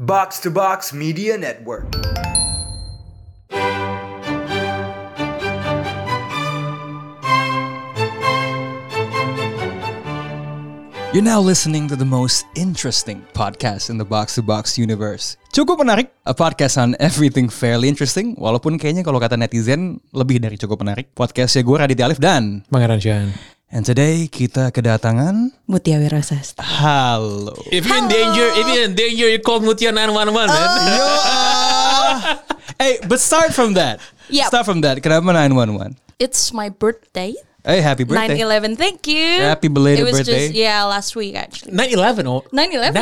Box to Box Media Network. You're now listening to the most interesting podcast in the box to box universe. Cukup menarik, a podcast on everything fairly interesting. Walaupun kayaknya kalau kata netizen lebih dari cukup menarik. Podcastnya gue Raditya Alif dan Pangeran Shan. and today kita kedatangan Mutia Wirasastra. halo. If you're in danger, if you're in danger, you call Mutia 911, man. Yo, uh, hey, but start from that. Yep. Start from that. Kenapa 911? It's my birthday. Hey, happy birthday. 9-11. Thank you. Happy belated it was birthday. Just, yeah, last week actually. 911 or 9-11.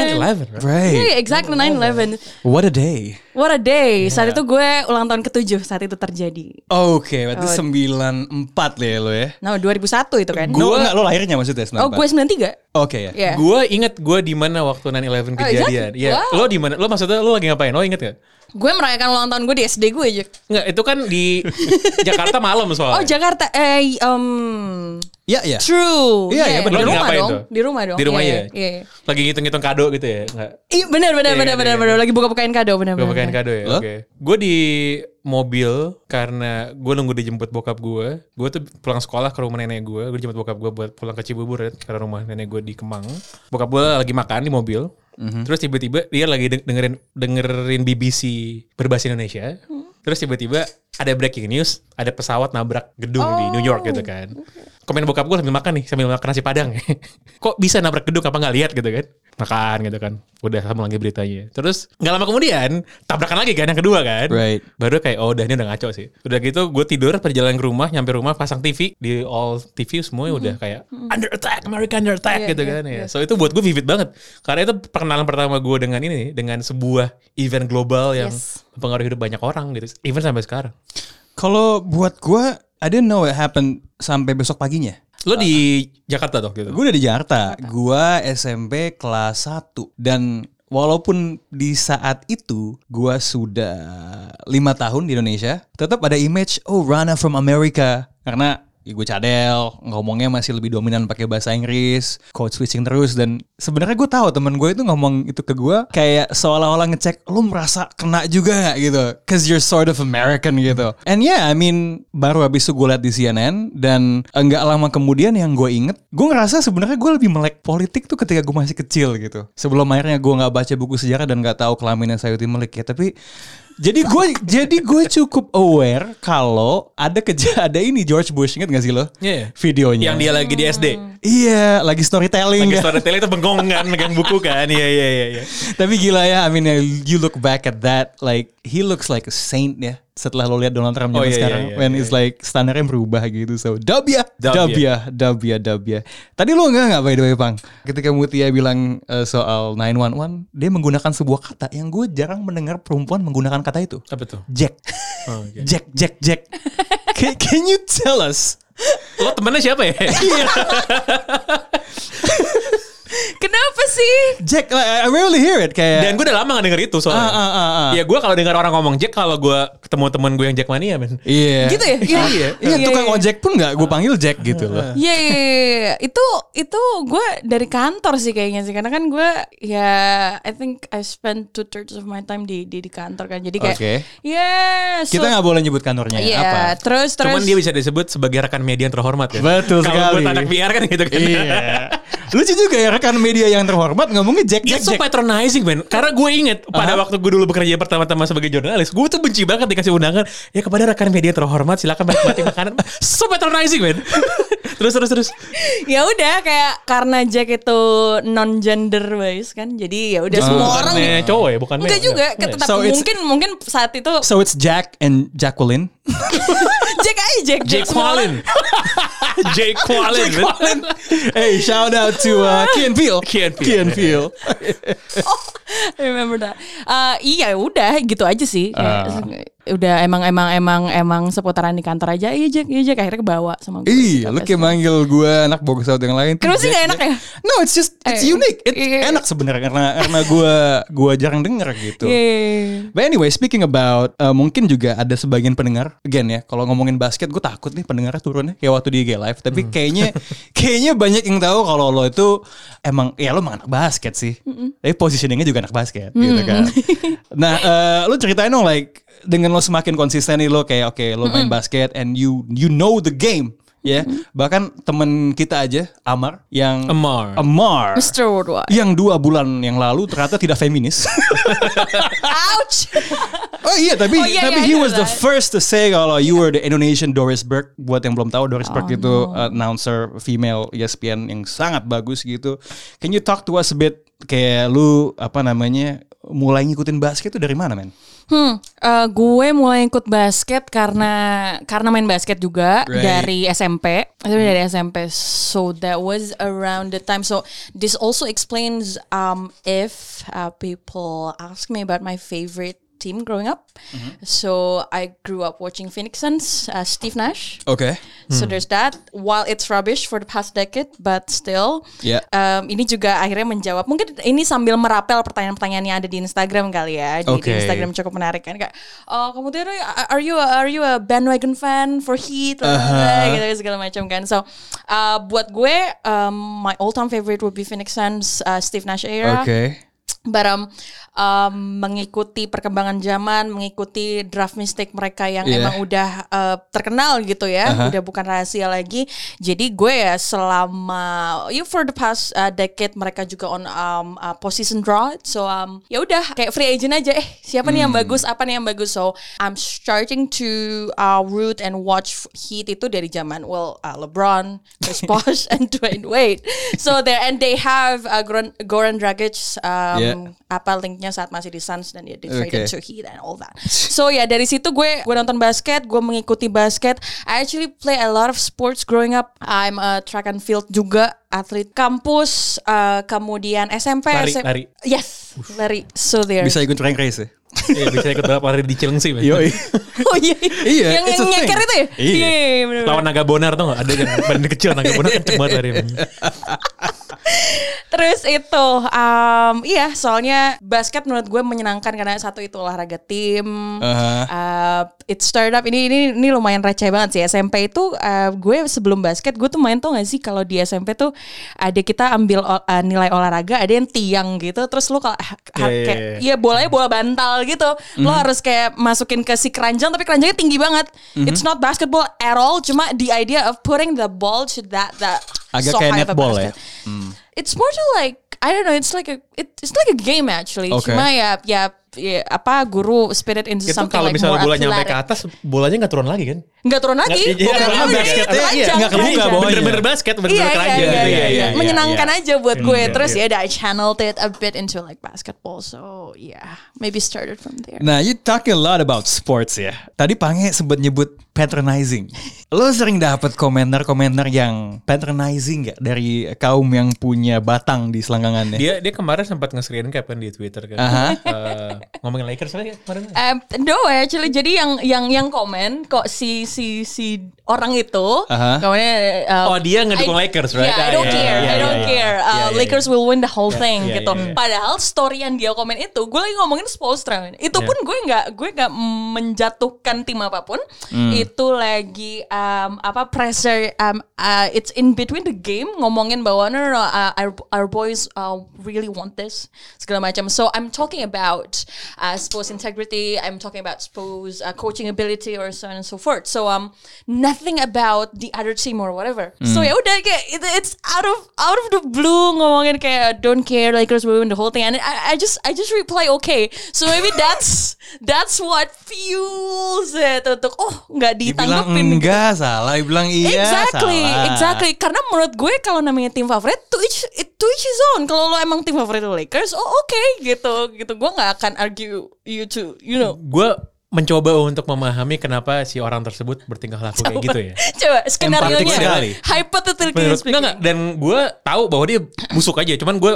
911, right? Yeah, Right. exactly 9-11. What a day. What a day. Saat itu gue ulang tahun ketujuh saat itu terjadi. Oke, berarti Oh. 94 lah ya lo ya. Nah, 2001 itu kan. Gue enggak lo lahirnya maksudnya Oh, gue 93. Oke ya. Yeah. Gue inget gue di mana waktu 911 Oh, exactly. kejadian. Iya. Wow. Lo di mana? Lo maksudnya lo lagi ngapain? Lo inget gak? Gue merayakan ulang tahun gue di SD gue aja. Enggak, itu kan di Jakarta malam soalnya. Oh, Jakarta. Eh, um, Iya, iya. true. Iya, iya, bener. di Lo rumah ngapain dong. tuh? Di rumah dong. Di rumah Iya, ya. Iya. iya. Lagi ngitung-ngitung kado gitu ya? Enggak. Iya, bener, bener, Iya, bener, iya, bener, iya. bener. Lagi buka-bukain kado, bener, Gue bener. pakaiin kado ya. Lo? Oke. Gue di mobil karena gue nunggu dijemput bokap gue. Gue tuh pulang sekolah ke rumah nenek gue. Gue dijemput bokap gue buat pulang ke Cibubur ya, karena rumah nenek gue di Kemang. Bokap gue lagi makan di mobil. Terus tiba-tiba dia lagi deng- dengerin dengerin BBC berbahasa Indonesia. Terus tiba-tiba ada breaking news, ada pesawat nabrak gedung di New York gitu kan. Komen bokap gue sambil makan nih, sambil makan nasi padang. Kok bisa nabrak gedung apa nggak lihat gitu kan? Makan gitu kan. Udah sama lagi beritanya. Terus nggak lama kemudian tabrakan lagi kan yang kedua kan. Right. Baru kayak oh udah ini udah ngaco sih. Udah gitu gue tidur perjalanan ke rumah, nyampe rumah pasang TV di all TV semuanya ya udah kayak under attack, America under attack Iya, gitu iya, kan ya. So itu buat gue vivid banget. Karena itu perkenalan pertama gue dengan ini nih, dengan sebuah event global yang Yes. mempengaruhi hidup banyak orang gitu. Even sampai sekarang. Kalau buat gue, I didn't know it happened sampai besok paginya. Lo di Jakarta tuh gitu. Gue udah di Jakarta. Gue SMP kelas 1 dan walaupun di saat itu gue sudah lima tahun di Indonesia, tetap ada image oh Rana from America karena ya gue cadel, ngomongnya masih lebih dominan pakai bahasa Inggris, code switching terus dan sebenarnya gue tahu temen gue itu ngomong itu ke gue kayak seolah-olah ngecek lu merasa kena juga gak gitu, cause you're sort of American gitu. And yeah, I mean baru habis itu gue liat di CNN dan enggak lama kemudian yang gue inget, gue ngerasa sebenarnya gue lebih melek politik tuh ketika gue masih kecil gitu. Sebelum akhirnya gue nggak baca buku sejarah dan nggak tahu kelaminnya Sayuti Melik ya, tapi jadi gue jadi gue cukup aware kalau ada kejadian ada ini George Bush inget gak sih lo? Iya, iya. Videonya. Yang dia lagi di SD. Mm. Iya, lagi storytelling. Lagi kan? storytelling itu bengong kan, megang buku kan. Iya, iya, iya. iya. Tapi gila ya, I mean you look back at that, like he looks like a saint ya. Setelah lo lihat Donald Trump Oh, zaman iya, sekarang, iya, iya, when iya, it's like standarnya berubah gitu. So dub ya, Dub dub ya. ya, dub ya, dub ya. Tadi lo enggak nggak by the way Pang? Ketika Mutia bilang eh, soal 911, dia menggunakan sebuah kata yang gue jarang mendengar perempuan menggunakan kata itu. Apa tuh? Jack, gitu. Oh, oke. Jack, Jack, Jack. can, can you tell us? Lo temennya siapa ya? Iya. Kenapa sih? Jack, like, I rarely hear it kayak. Dan gue udah lama gak denger itu ah, soalnya. ah, ah, ah. Ya gue kalau dengar orang ngomong Jack kalau gue ketemu teman gue yang Jack mania men. Iya. Gitu ya? Iya. Iya, iya, tukang ojek pun nggak gue panggil Jack gitu loh. Iya, iya, iya. itu itu gue dari kantor sih kayaknya sih karena kan gue ya I think I spend two thirds of my time di di, di kantor kan jadi kayak Oke. ya so- Kita nggak boleh nyebut kantornya Iya, apa. terus terus Cuman dia bisa disebut sebagai rekan media yang terhormat kan. Betul Kalau sekali. buat anak PR kan gitu kan. Iya. Lucu juga ya rekan media yang terhormat ngomongnya Jack Jack Iya, It's so Jack. patronizing men Karena gue inget Pada waktu gue dulu bekerja pertama-tama sebagai jurnalis Gue tuh benci banget dikasih undangan Ya kepada rekan media yang terhormat Silahkan menikmati makanan So patronizing men Terus terus terus ya udah kayak karena Jack itu non gender wise kan jadi ya udah Oh, semua orang Bukannya cowok ya bukan enggak male, juga enggak. tetap So it's- mungkin mungkin saat itu So it's Jack and Jacqueline. Jack aja Jack Jake semua orang. Qualin Jake Qualin men. hey, shout out to uh, Kian Peel. Key and Peele. Key and Peele. Ah. I remember that. Eh, iya udah gitu aja sih. Kayak, udah emang emang emang emang seputaran di kantor aja iya Jack iya Jack akhirnya kebawa sama gue Ih, lu kayak manggil gue anak box out yang lain. tuh Kenapa sih Jack, nggak enak Jack. ya? No, it's just it's Eh, unique. It's iya. enak sebenarnya karena karena gue gua jarang denger gitu. Iya. But anyway, speaking about uh, mungkin juga ada sebagian pendengar, again ya, kalau ngomongin basket gue takut nih pendengarnya turunnya kayak waktu di IG live, tapi kayaknya kayaknya banyak yang tahu kalau lo itu emang ya lo emang anak basket sih. Tapi positioningnya juga anak basket gitu kan. nah, uh, lo ceritain dong like dengan lo semakin konsisten nih lo kayak oke lo main basket and you you know the game. Ya, bahkan temen kita aja Amar yang Amar. Amar Mr. Worldwide. yang dua bulan yang lalu ternyata tidak feminis. Ouch. Oh iya tapi Oh, iya, tapi iya, he I know was the that. first to say kalau you were the Indonesian Doris Burke buat yang belum tahu Doris Oh, Burke itu announcer female E ESPN yang sangat bagus gitu. Can you talk to us a bit kayak lu apa namanya mulai ngikutin basket itu dari mana men? Hmm, eh, gue mulai ikut basket karena karena main basket juga Right. dari SMP. Itu dari SMP. So that was around the time. So this also explains um if uh, people ask me about my favorite team growing up. So I grew up watching Phoenix Suns, uh, Steve Nash. Oke. So there's that. While it's rubbish for the past decade, but still, Yeah. um, ini juga akhirnya menjawab. Mungkin ini sambil merapel pertanyaan-pertanyaan yang ada di Instagram kali ya. Di, di Okay. Instagram cukup menarik kan. Kayak, oh kamu tuh are you are you a bandwagon fan for Heat? Blah, blah, blah, Uh-huh. gitu segala macam kan. So uh, buat gue, um, my all-time favorite would be Phoenix Suns, uh, Steve Nash era. But um, um, mengikuti perkembangan zaman, mengikuti draft mistake mereka yang Yeah. emang udah uh, terkenal gitu ya, udah bukan rahasia lagi. Jadi gue ya selama you for the past uh, decade mereka juga on um, uh, position draw, so um, ya udah kayak free agent aja. Eh siapa nih yang bagus, apa nih yang bagus? So I'm starting to uh, root and watch Heat itu dari zaman well uh, LeBron, Chris Bosh, and Dwayne Wade. So there and they have uh, Goran, Goran Dragic. Um, Yeah. apa linknya saat masih di Suns dan dia di Okay. traded to Heat and all that. So ya dari situ gue gue nonton basket, gue mengikuti basket. I actually play a lot of sports growing up. I'm a track and field juga atlet kampus, eh, kemudian SMP. Lari, SMP. lari. Yes, lari. So there. Bisa ikut rank race ya? Iya, bisa ikut balap lari di Cilengsi. men. Yoi. Oh iya. Iya, yang it's a yang thing. nyeker itu ya? Iya. iya, bener-bener. Lawan naga bonar tuh gak? Ada kan badan kecil naga bonar kenceng banget lari. Terus itu, um, iya soalnya basket menurut gue menyenangkan karena satu itu olahraga tim. Aha. Uh, it startup ini ini ini lumayan receh banget sih SMP itu uh, gue sebelum basket gue tuh main tuh gak sih kalau di SMP tuh ada kita ambil ol- uh, nilai olahraga ada yang tiang gitu terus lu kalau ha- ha- Iya, iya, kayak iya. iya bolanya bola bantal gitu Mhm. lo harus kayak masukin ke si keranjang tapi keranjangnya tinggi banget Mhm. it's not basketball at all cuma the idea of putting the ball to that that Agak so kayak high of a netball ya? basket. It's more to like I don't know. It's like a it, it's like a game actually. Okay. Cuma ya ya ya, apa guru spirit into Itu something kalau like misalnya more bola nyampe ke athletic. atas, bolanya gak turun lagi kan? Nggak turun lagi. Nggak- iya, Bukan karena lagi. basketnya iya, Panjang, nggak kebuka panjang. bawahnya. Bener-bener basket, Iya, bener-bener iya, kerajaan. iya, iya, iya, iya. iya. Menyenangkan aja buat gue. Iya, Terus iya. ya udah I channeled it a bit into like basketball. So yeah, maybe started from there. Nah, you talking a lot about sports ya. Tadi Pange sempat nyebut patronizing. Lo sering dapat komentar-komentar yang patronizing gak dari kaum yang punya batang di selangkangannya? Dia dia kemarin sempat nge-screen cap kan di Twitter kan. Aha. Eh, ngomongin Lakers lagi kemarin. Um, no actually jadi yang yang yang komen kok si si si orang itu Aha. komennya, Oh, uh, dia ngedukung I- Lakers, right? Iya, Yeah, I don't Yeah, yeah, care, I don't yeah, care. yeah. Uh, Yeah, yeah, Lakers will win the whole thing yeah, gitu. yeah, yeah. Padahal story yang dia komen itu gue lagi ngomongin Spolstra men. Itu pun gue nggak gue nggak menjatuhkan tim apapun. Hmm. Itu lagi um, apa pressure um, uh, it's in between the game ngomongin bahwa no no, no uh, our, our boys uh, really want this segala macam. So I'm talking about uh, sports integrity. I'm talking about sports uh, coaching ability or so on and so forth. So um nothing about the other team or whatever. So Mm. ya udah kayak it, it's out of out of the blue ngomongin kayak don't care Lakers will win the whole thing and I, I just I just reply okay. So maybe that's that's what fuels it untuk oh nggak Dibilang ditanggepin gitu. enggak salah, dibilang iya exactly, salah. exactly. Karena menurut gue kalau namanya tim favorit, to each, it to each his own. Kalau lo emang tim favorit lo Lakers, oh oke gitu, gitu. Gue nggak akan argue you to, you know. Gue mencoba untuk memahami kenapa si orang tersebut bertingkah laku kayak gitu ya. Coba skenario Empatik nya sekali. hypothetically Menurut enggak, Iya, speaking. enggak. dan gue tahu bahwa dia busuk aja, cuman gue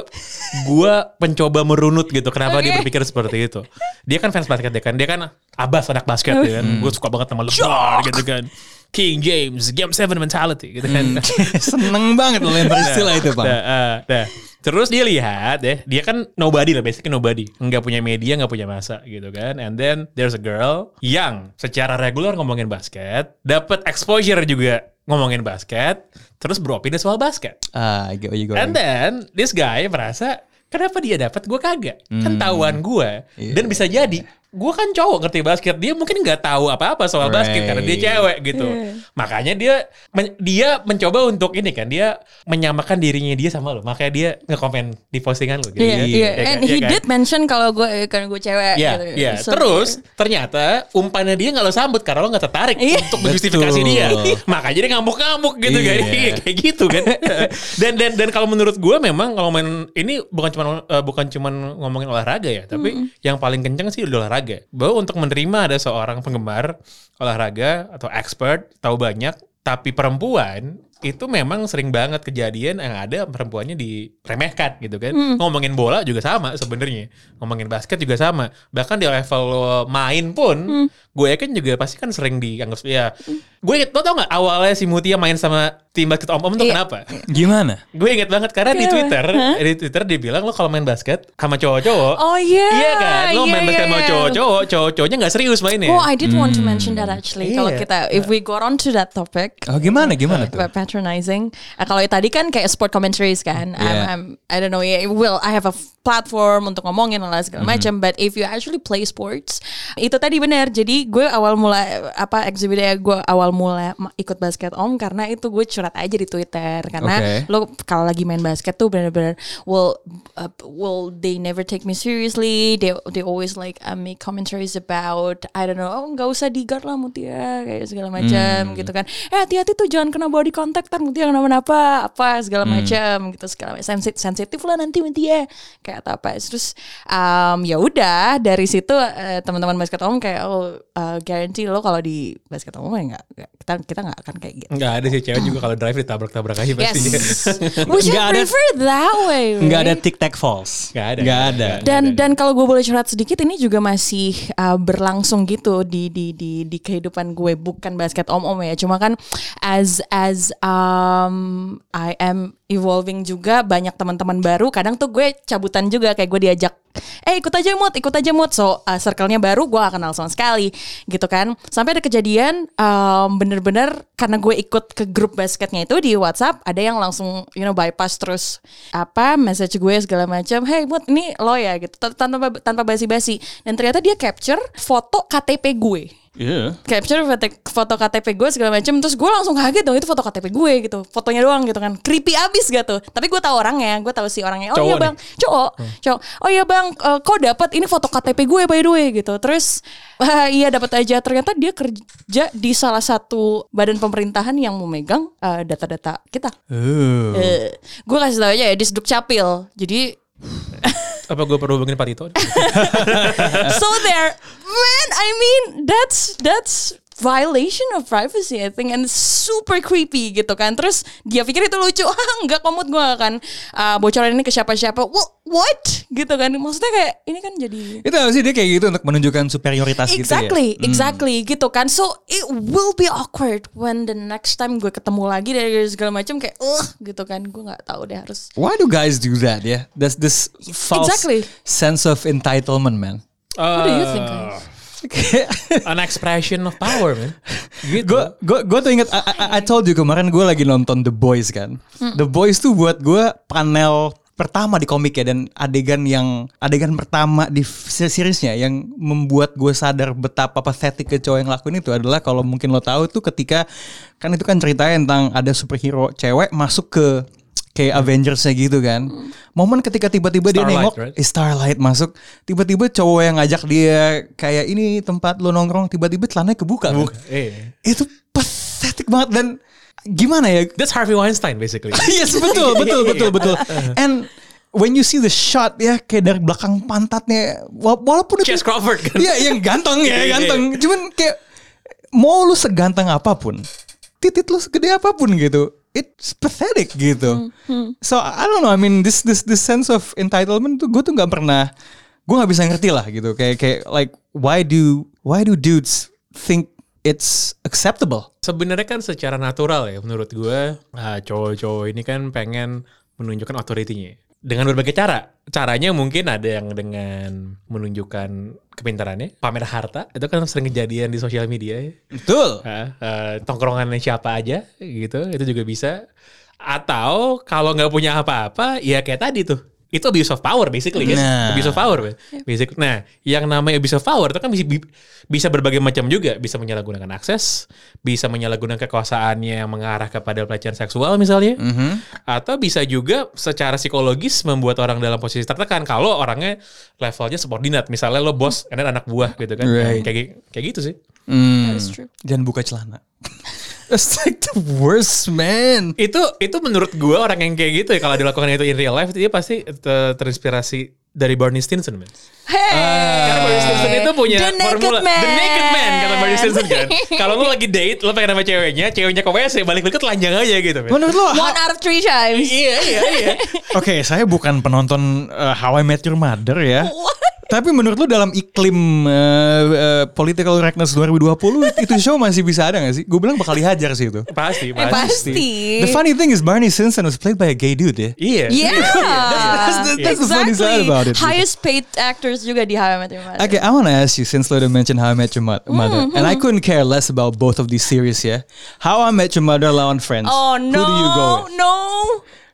gue mencoba merunut gitu kenapa dia Oke. berpikir seperti itu. Dia kan fans basket ya kan, dia kan abas anak basket ya kan. Gue suka banget sama LeBron gitu kan. King James, Game 7 mentality gitu kan. Seneng banget lo lempar Hmm. istilah Iya. itu Nah, bang. eh, nah. Terus dia lihat ya, dia kan nobody lah, basically nobody. Nggak punya media, nggak punya masa gitu kan. And then there's a girl yang secara reguler ngomongin basket, dapat exposure juga ngomongin basket, terus beropini soal basket. Ah, I get what you going. And then this guy merasa kenapa dia dapat gue kagak? Kan tauan gue. Dan bisa jadi gue kan cowok ngerti basket, dia mungkin nggak tahu apa-apa soal basket karena dia Right. cewek gitu. Iya. Makanya dia men- dia mencoba untuk ini kan, dia menyamakan dirinya dia sama lo. Makanya dia nge-comment di postingan lo gitu. Iya, ya. iya. Ya kan, And ya he kan? did mention kalau gue karena gue cewek. Ya, gitu. ya. So- Terus ternyata umpannya dia nggak lo sambut karena lo nggak tertarik Iya. untuk menjustifikasi Betul. dia. Makanya dia ngamuk-ngamuk gitu Iya. kan. Iya, kayak gitu kan. dan dan dan kalau menurut gue memang kalau main ini bukan cuma bukan cuman ngomongin olahraga ya, tapi yang paling kenceng sih di olahraga. Bahwa untuk menerima ada seorang penggemar olahraga atau expert tahu banyak tapi perempuan itu memang sering banget kejadian yang ada perempuannya diremehkan gitu kan. Hmm. Ngomongin bola juga sama sebenarnya. Ngomongin basket juga sama. Bahkan di level lo main Hmm. pun gue yakin juga pasti kan sering dianggap ya. Gue inget lo tau gak awalnya si Mutia main sama tim basket om-om tuh Iya. kenapa? Gimana? Gue inget banget karena di Kenapa? Twitter, di Twitter dia bilang lo kalau main basket sama cowok-cowok Oh iya. Iya kan, lo Iya, main iya, basket sama iya. cowok-cowok, cowok-cowoknya gak serius mainnya. Oh, I did want to mention that actually. Kalau Iya. kita, if we got on to that topic, Oh, gimana gimana tuh? About Iya, patronizing. Eh, kalau tadi kan kayak sport commentaries kan. I'm, Yeah. I'm, I don't know. Yeah, well, I have a f- platform untuk ngomongin dan lain segala Mm-hmm. macam. But if you actually play sports, itu tadi benar. Jadi gue awal mula apa exhibitnya gue awal mula ma- ikut basket om karena itu gue curhat aja di Twitter kan. karena Oke. lo kalau lagi main basket tuh benar-benar well uh, well they never take me seriously. They they always like uh, make commentaries about I don't know. Oh nggak usah di guard lah Mutia kayak segala macam gitu kan. Eh hati-hati tuh jangan kena body contact ntar Mutia kenapa-napa apa segala macam gitu segala macam Sensi- sensitif lah nanti Mutia kayak atau apa. Terus um, ya udah dari situ eh, teman-teman basket om kayak oh eh, guarantee lo kalau di basket om enggak kita kita nggak akan kayak gitu. Enggak ada sih cewek juga kalau drive ditabrak-tabrak aja Yes. pastinya. Would you Nggak ada- prefer that way? Nggak ada right? tic tac falls. Nggak ada. Nggak ada. Nggak dan dan kalau gue boleh curhat sedikit ini juga masih uh, berlangsung gitu di di di di kehidupan gue bukan basket om om ya cuma kan as as um, I am evolving juga banyak teman-teman baru kadang tuh gue cabutan juga kayak gue diajak eh ikut aja mut ikut aja mut so uh, circle-nya baru gue gak kenal sama sekali gitu kan sampai ada kejadian um, bener-bener karena gue ikut ke grup basketnya itu di WhatsApp ada yang langsung you know bypass terus apa message gue segala macam hey mut ini lo ya gitu tan- tanpa tanpa basi-basi dan ternyata dia capture foto KTP gue capture foto, foto KTP gue segala macam terus gue langsung kaget dong itu foto KTP gue gitu fotonya doang gitu kan creepy abis gak tuh tapi gue tahu orangnya gue tahu si orangnya oh Cowok iya bang cowok cowok oh iya bang eh, kok dapat ini foto KTP gue by the way gitu terus "Ah, iya dapat aja ternyata dia kerja di salah satu badan pemerintahan yang memegang eh, data-data kita Eh, gue kasih tahu aja ya di Sdukcapil jadi Apa gue perlu hubungin Pak Tito? so there, man. I mean, that's that's violation of privacy, I think, and super creepy gitu kan. Terus dia pikir itu lucu, ah nggak komut gue kan uh, bocoran ini ke siapa-siapa. Wha- What? Gitu kan? Maksudnya kayak ini kan jadi Itu apa sih dia kayak gitu untuk menunjukkan superioritas gitu ya? exactly, exactly gitu kan. So it will be awkward when the next time gue ketemu lagi dari segala macam kayak, uh, gitu kan. Gue nggak tahu deh harus Why do guys do that ya? That's this false Exactly. sense of entitlement man. What do you think, ya, guys? An expression of power, man. Gitu. Gue gue gue tuh inget I, I- I told you kemarin gue lagi nonton The Boys kan. The Boys tuh buat gue panel pertama di komik ya dan adegan yang adegan pertama di se- seriesnya yang membuat gue sadar betapa pathetic ke cowok yang lakuin itu adalah kalau mungkin lo tahu tuh ketika kan itu kan ceritanya tentang ada superhero cewek masuk ke kayak Avengersnya gitu kan. Momen ketika tiba-tiba dia Mm. Starlight, nengok right? eh, Starlight masuk, tiba-tiba cowok yang ngajak dia kayak ini tempat lo nongkrong, tiba-tiba celananya kebuka. kan. Eh. Itu pathetic banget dan gimana ya? That's Harvey Weinstein basically. yes, betul, betul, betul, betul. And when you see the shot ya kayak dari belakang pantatnya wa- walaupun itu Chess Crawford kan? Iya, yang ganteng ya, Iya, iya, ganteng. Cuman kayak mau lu seganteng apapun, titit lu segede apapun gitu. It's pathetic gitu. So I don't know, I mean this this this sense of entitlement tuh gue tuh nggak pernah gue nggak bisa ngerti lah gitu. Kayak kayak like why do why do dudes think it's acceptable? Sebenarnya kan secara natural ya menurut gue ah, cowok-cowok ini kan pengen menunjukkan authority-nya dengan berbagai cara. Caranya mungkin ada yang dengan menunjukkan kepintarannya, pamer harta itu kan sering kejadian di sosial media. Ya. Betul. Ah, ah, tongkrongannya siapa aja gitu itu juga bisa. Atau kalau nggak punya apa-apa ya kayak tadi tuh itu abuse of power basically kan? Nah. abuse of power basic nah yang namanya abuse of power itu kan bisa bisa berbagai macam juga bisa menyalahgunakan akses bisa menyalahgunakan kekuasaannya yang mengarah kepada pelecehan seksual misalnya Mm-hmm. atau bisa juga secara psikologis membuat orang dalam posisi tertekan kalau orangnya levelnya subordinat misalnya lo bos and then anak buah gitu kan Right. kayak gi- kayak gitu sih Hmm. That's true. Dan buka celana. That's like the worst man. itu itu menurut gua orang yang kayak gitu ya kalau dilakukan itu in real life dia pasti ter- terinspirasi dari Barney Stinson man. Hey. Karena Barney Stinson itu punya The Naked formula Man. The Naked Man kata Barney Stinson kan. kalau lu lagi date lu pengen sama ceweknya, ceweknya ke WC balik lagi telanjang aja gitu. Man. Menurut lo One out of three times. Iya iya iya. Oke, saya bukan penonton uh, How I Met Your Mother ya. Tapi menurut lu dalam iklim uh, uh, political correctness 2020 itu show masih bisa ada gak sih? Gue bilang bakal dihajar sih itu. Pasti Eh, pasti. pasti. The funny thing is Barney Stinson was played by a gay dude ya. Iya. Yeah, That's the- that's the funny side exactly. about it. Highest paid actors juga di How I Met Your Mother. Okay, I want to ask you since Lodo mentioned How I Met Your Mo- Mother, and I couldn't care less about both of these series ya. How I Met Your Mother lawan Friends. Oh Who do you go no, with? no.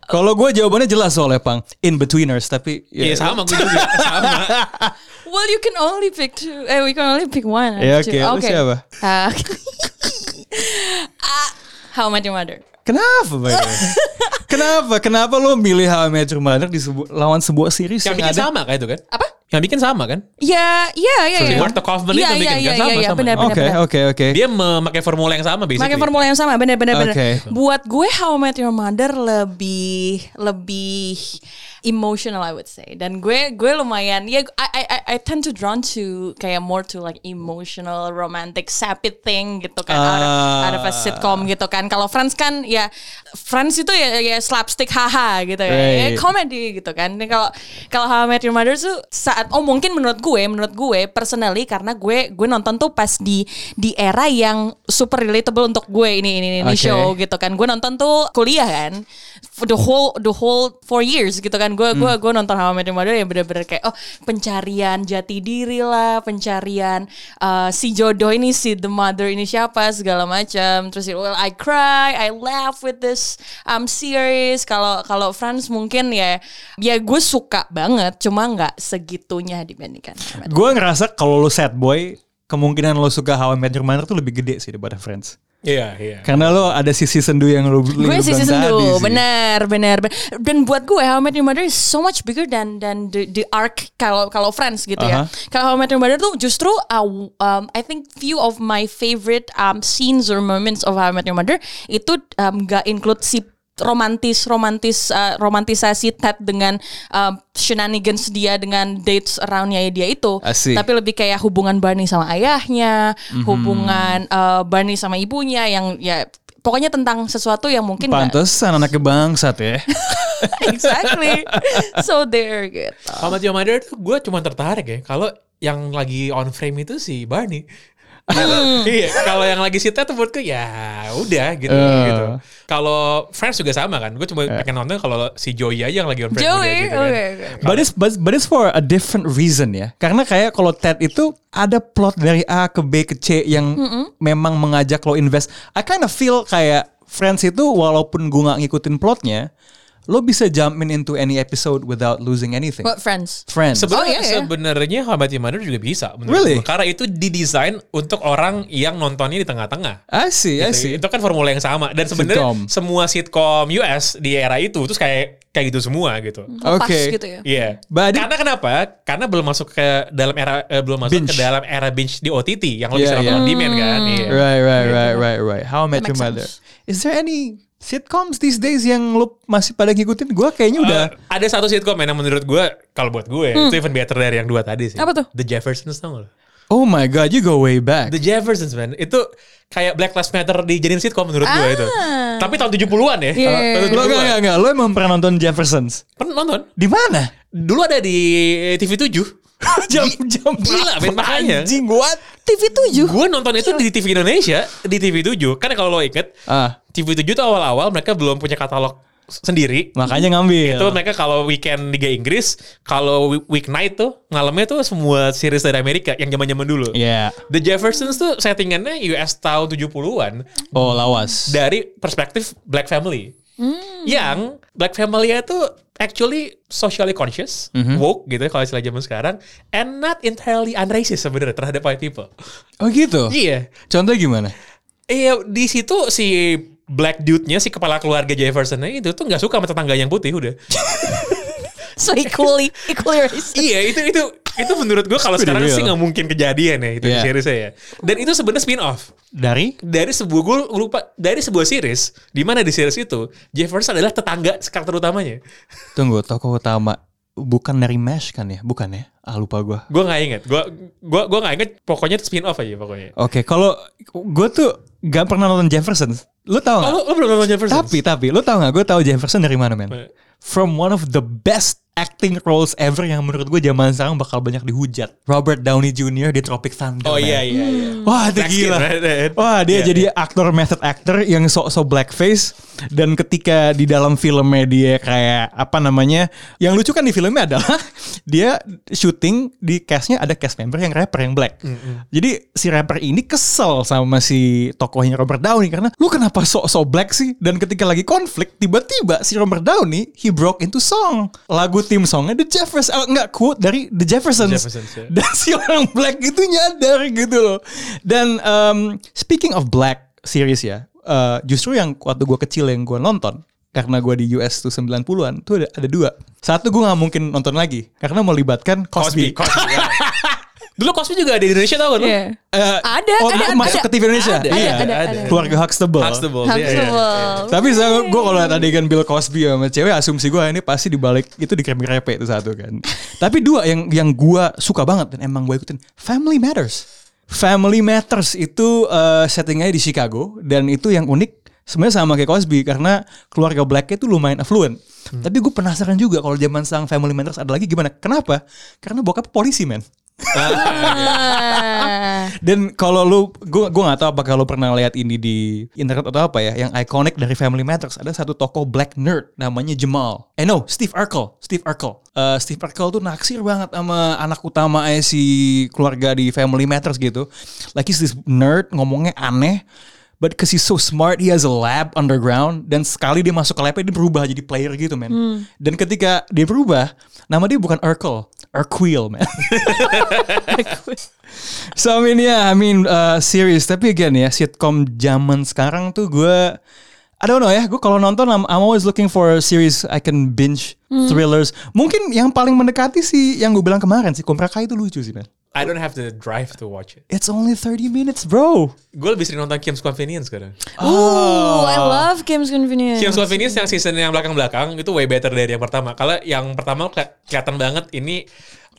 Kalau gue jawabannya jelas soalnya Pang, in betweeners tapi Iya ya sama gue juga sama. Well, you can only pick two. Eh, we can only pick one. Ya, actually. oke. Lu siapa? Ah, okay. Ah, How I Met Your Mother. Kenapa, by the way? Kenapa? Kenapa lo milih How I Met Your Mother di sebu- lawan sebuah series yang, Yang bikin ada? sama kan itu kan? Apa? Yang bikin sama kan? Ya, ya, ya. Sorry, ya. Martha Kaufman Ya, itu bikin kan? ya, ya, Sama, ya, ya, sama. Benar, benar, Oke, benar. oke, oke. Dia memakai formula yang sama basically. Pakai formula yang sama, benar benar benar. Oke. Buat gue How I Met Your Mother lebih lebih emotional I would say. Dan gue gue lumayan ya I I I- I tend to drawn to kayak more to like emotional romantic sapid thing gitu kan out, of, Ah. out of a sitcom gitu kan. Kalau Friends kan ya Friends itu ya, ya slapstick haha gitu ya. Ya, Right. komedi gitu kan. Ini Kalau kalau How I Met Your Mother tuh saat oh mungkin menurut gue, menurut gue personally karena gue gue nonton tuh pas di di era yang super relatable untuk gue ini ini ini Oke. show gitu kan. Gue nonton tuh kuliah kan. For The whole the whole four years gitu kan. Gue gue gue nonton How I Met Your Mother yang bener-bener kayak oh pencarian jati diri lah, pencarian uh, si jodoh ini si the mother ini siapa segala macam. Terus well I cry, I laugh with this um, series. Kalau kalau Friends mungkin ya ya gue suka banget, cuma nggak segitunya dibandingkan. sama- Gue ngerasa kalau lo sad boy, kemungkinan lo suka How I Met Your Mother tuh lebih gede sih daripada Friends. Iya iya. Karena lo ada sisi sendu yang lo Gue lo bilang sih season tadi dulu, sih. benar, benar, benar. Dan buat gue How I Met Your Mother is so much bigger than than the, the arc kalau kalau Friends gitu Aha. ya. Kalau How I Met Your Mother tuh justru uh, um, I think few of my favorite um, scenes or moments of How I Met Your Mother itu um, gak include si romantis romantis uh, romantisasi Ted dengan um, shenanigans dia dengan dates aroundnya dia itu I see. tapi lebih kayak hubungan Barney sama ayahnya hubungan uh, Barney sama ibunya yang ya pokoknya tentang sesuatu yang mungkin nggak- Pantesan anak kebangsat ya. exactly. so there gitu. How I Met Your Mother tuh gue cuma tertarik ya kalau yang lagi on frame itu si Barney. iya, kalau yang lagi sita tuh menurutku ya udah gitu Eh. gitu. Kalau Friends juga sama kan. Gue cuma pengen nonton kalau si Joey aja yang lagi on frame udah Joey, gitu kan. oke, oke. But it's, but, but it's for a different reason ya. Karena kayak kalau Ted itu ada plot dari A ke B ke C yang memang mengajak lo invest. I kind of feel kayak Friends itu walaupun gue gak ngikutin plotnya, lo bisa jumpin into any episode without losing anything. What friends? Friends. Sebenarnya Oh, iya, iya. sebenarnya How I Met Your Mother juga bisa menurut Really? gua. Karena itu didesain untuk orang yang nontonnya di tengah-tengah. I see, I see. Itu kan formula yang sama dan sebenarnya Sitcom. semua sitcom US di era itu terus kayak kayak gitu semua gitu. Lepas Oke. gitu ya. Iya. But- Karena kenapa? Karena belum masuk ke dalam era eh, belum masuk Binge. ke dalam era binge di OTT yang lo Iya, bisa nonton iya. on demand kan. Iya. Right, right, right, right, right. How I Met That Your makes Mother. sense. Is there any sitcoms these days yang lu masih pada ngikutin gue kayaknya udah Hmm. Eh, ada satu sitcom yang menurut gue kalau buat gue itu even better dari yang dua tadi sih. Apa tuh? The Jeffersons tau gak lo? oh my god you go way back The Jeffersons man itu kayak Black Lives Matter dijadiin sitcom menurut gue itu. Tapi tahun 70-an ya. Iya. lo Ah. Tahun enggak 70-an. enggak enggak lo emang pernah nonton Jeffersons Pernah nonton? di mana Dulu ada di TV 7. jam jam Ah, Gila, Ben, berapa, makanya. anjing what TV 7 Gue nonton itu di TV Indonesia, di TV 7. Karena kalau lo inget, ah TV 7 tuh awal-awal mereka belum punya katalog sendiri. makanya ngambil Itu mereka kalau weekend Liga Inggris, kalau wi- weeknight tuh malamnya tuh semua series dari Amerika yang zaman-zaman dulu. ya The Jeffersons tuh settingannya US tahun 70-an oh lawas dari perspektif black family. Yang black family itu actually socially conscious, woke gitu ya kalau istilah zaman sekarang, and not entirely unracist sebenarnya terhadap white people. oh gitu Iya. contoh gimana Iya, di situ si black dude-nya si kepala keluarga Jefferson-nya itu tuh nggak suka sama tetangga yang putih udah. So equally Equally racist iya, itu itu itu menurut gua kalau Pretty sekarang real. sih nggak mungkin kejadian ya itu Iya. di seriesnya ya. Dan itu sebenarnya spin off. dari dari sebuah gue lupa dari sebuah series di mana di series itu Jefferson adalah tetangga karakter utamanya Tunggu, tokoh utama bukan dari Mesh kan ya? Bukan ya? Ah lupa gua. gue nggak inget gue gue gue nggak inget pokoknya itu spin off aja pokoknya Oke, kalau gua tuh gak pernah nonton Jefferson. Lu oh, tau lo, gak? lo belum nonton Jefferson tapi tapi lu tau gak? Gue tau Jefferson dari mana men? Eh. From one of the best acting roles ever yang menurut gue zaman sekarang bakal banyak dihujat. Robert Downey Jr. di Tropic Thunder. oh men. iya iya iya Wah itu Black skin, gila. right, right. Wah Oh, dia Iya, jadi aktor method actor yang sok-sok blackface dan ketika di dalam filmnya dia kayak apa namanya yang lucu kan di filmnya adalah dia syuting di castnya ada cast member yang rapper yang black. Jadi si rapper ini kesel sama si tokohnya Robert Downey karena lu kenapa sok-sok black sih dan ketika lagi konflik tiba-tiba si Robert Downey he broke into song lagu tim songnya The Jeffersons oh, enggak quote dari The Jeffersons, Jeffersons, ya. dan si orang black itu nyadar gitu loh. Dan um, speaking of black series ya, uh, justru yang waktu gue kecil yang gue nonton karena gue di US tuh 90-an tuh ada, ada dua. Satu gue nggak mungkin nonton lagi karena melibatkan Cosby Cosby. Cosby ya. dulu Cosby juga ada di Indonesia tau kan lo? Iya. Eh, Ada, oh, ada, masuk ada, ke TV Indonesia. ada, Iya. ada, ada. Keluarga Huxtable. Huxtable iya, iya. Huxtable. Tapi saya gue kalau liat adegan Bill Cosby sama cewek asumsi gue ini pasti dibalik itu di krepe itu satu kan. Tapi dua yang yang gue suka banget dan emang gue ikutin Family Matters. Family Matters itu eh, settingnya di Chicago dan itu yang unik sebenarnya sama kayak Cosby karena keluarga Black itu lumayan affluent. Tapi gue penasaran juga kalau zaman sekarang Family Matters ada lagi gimana? Kenapa? Karena bokap polisi men. Ah. Dan kalau lu gua gua nggak tahu apakah lu pernah lihat ini di internet atau apa ya, yang ikonik dari Family Matters ada satu tokoh black nerd namanya Jamal. Eh no, Steve Urkel, Steve Urkel. Eh, Steve Urkel tuh naksir banget sama anak utama eh, si keluarga di Family Matters gitu. Like he's this nerd ngomongnya aneh. But because he's so smart, he has a lab underground. Dan sekali dia masuk ke labnya, dia berubah jadi player gitu, men. Dan ketika dia berubah, nama dia bukan Urkel, Urquil, man. So I mean yeah, I mean uh, series. Tapi again ya sitcom zaman sekarang tuh gue I don't know ya. Gue kalau nonton I'm, I'm always looking for a series I can binge thrillers. Mungkin yang paling mendekati sih yang gue bilang kemarin si Cobra Kai itu lucu sih man. I don't have the drive to watch it It's only 30 minutes bro. gue lebih sering nonton Kim's Convenience sekarang Ooh, I love Kim's Convenience. Kim's Convenience yang season yang belakang-belakang itu way better dari yang pertama kalau yang pertama keli- kelihatan banget ini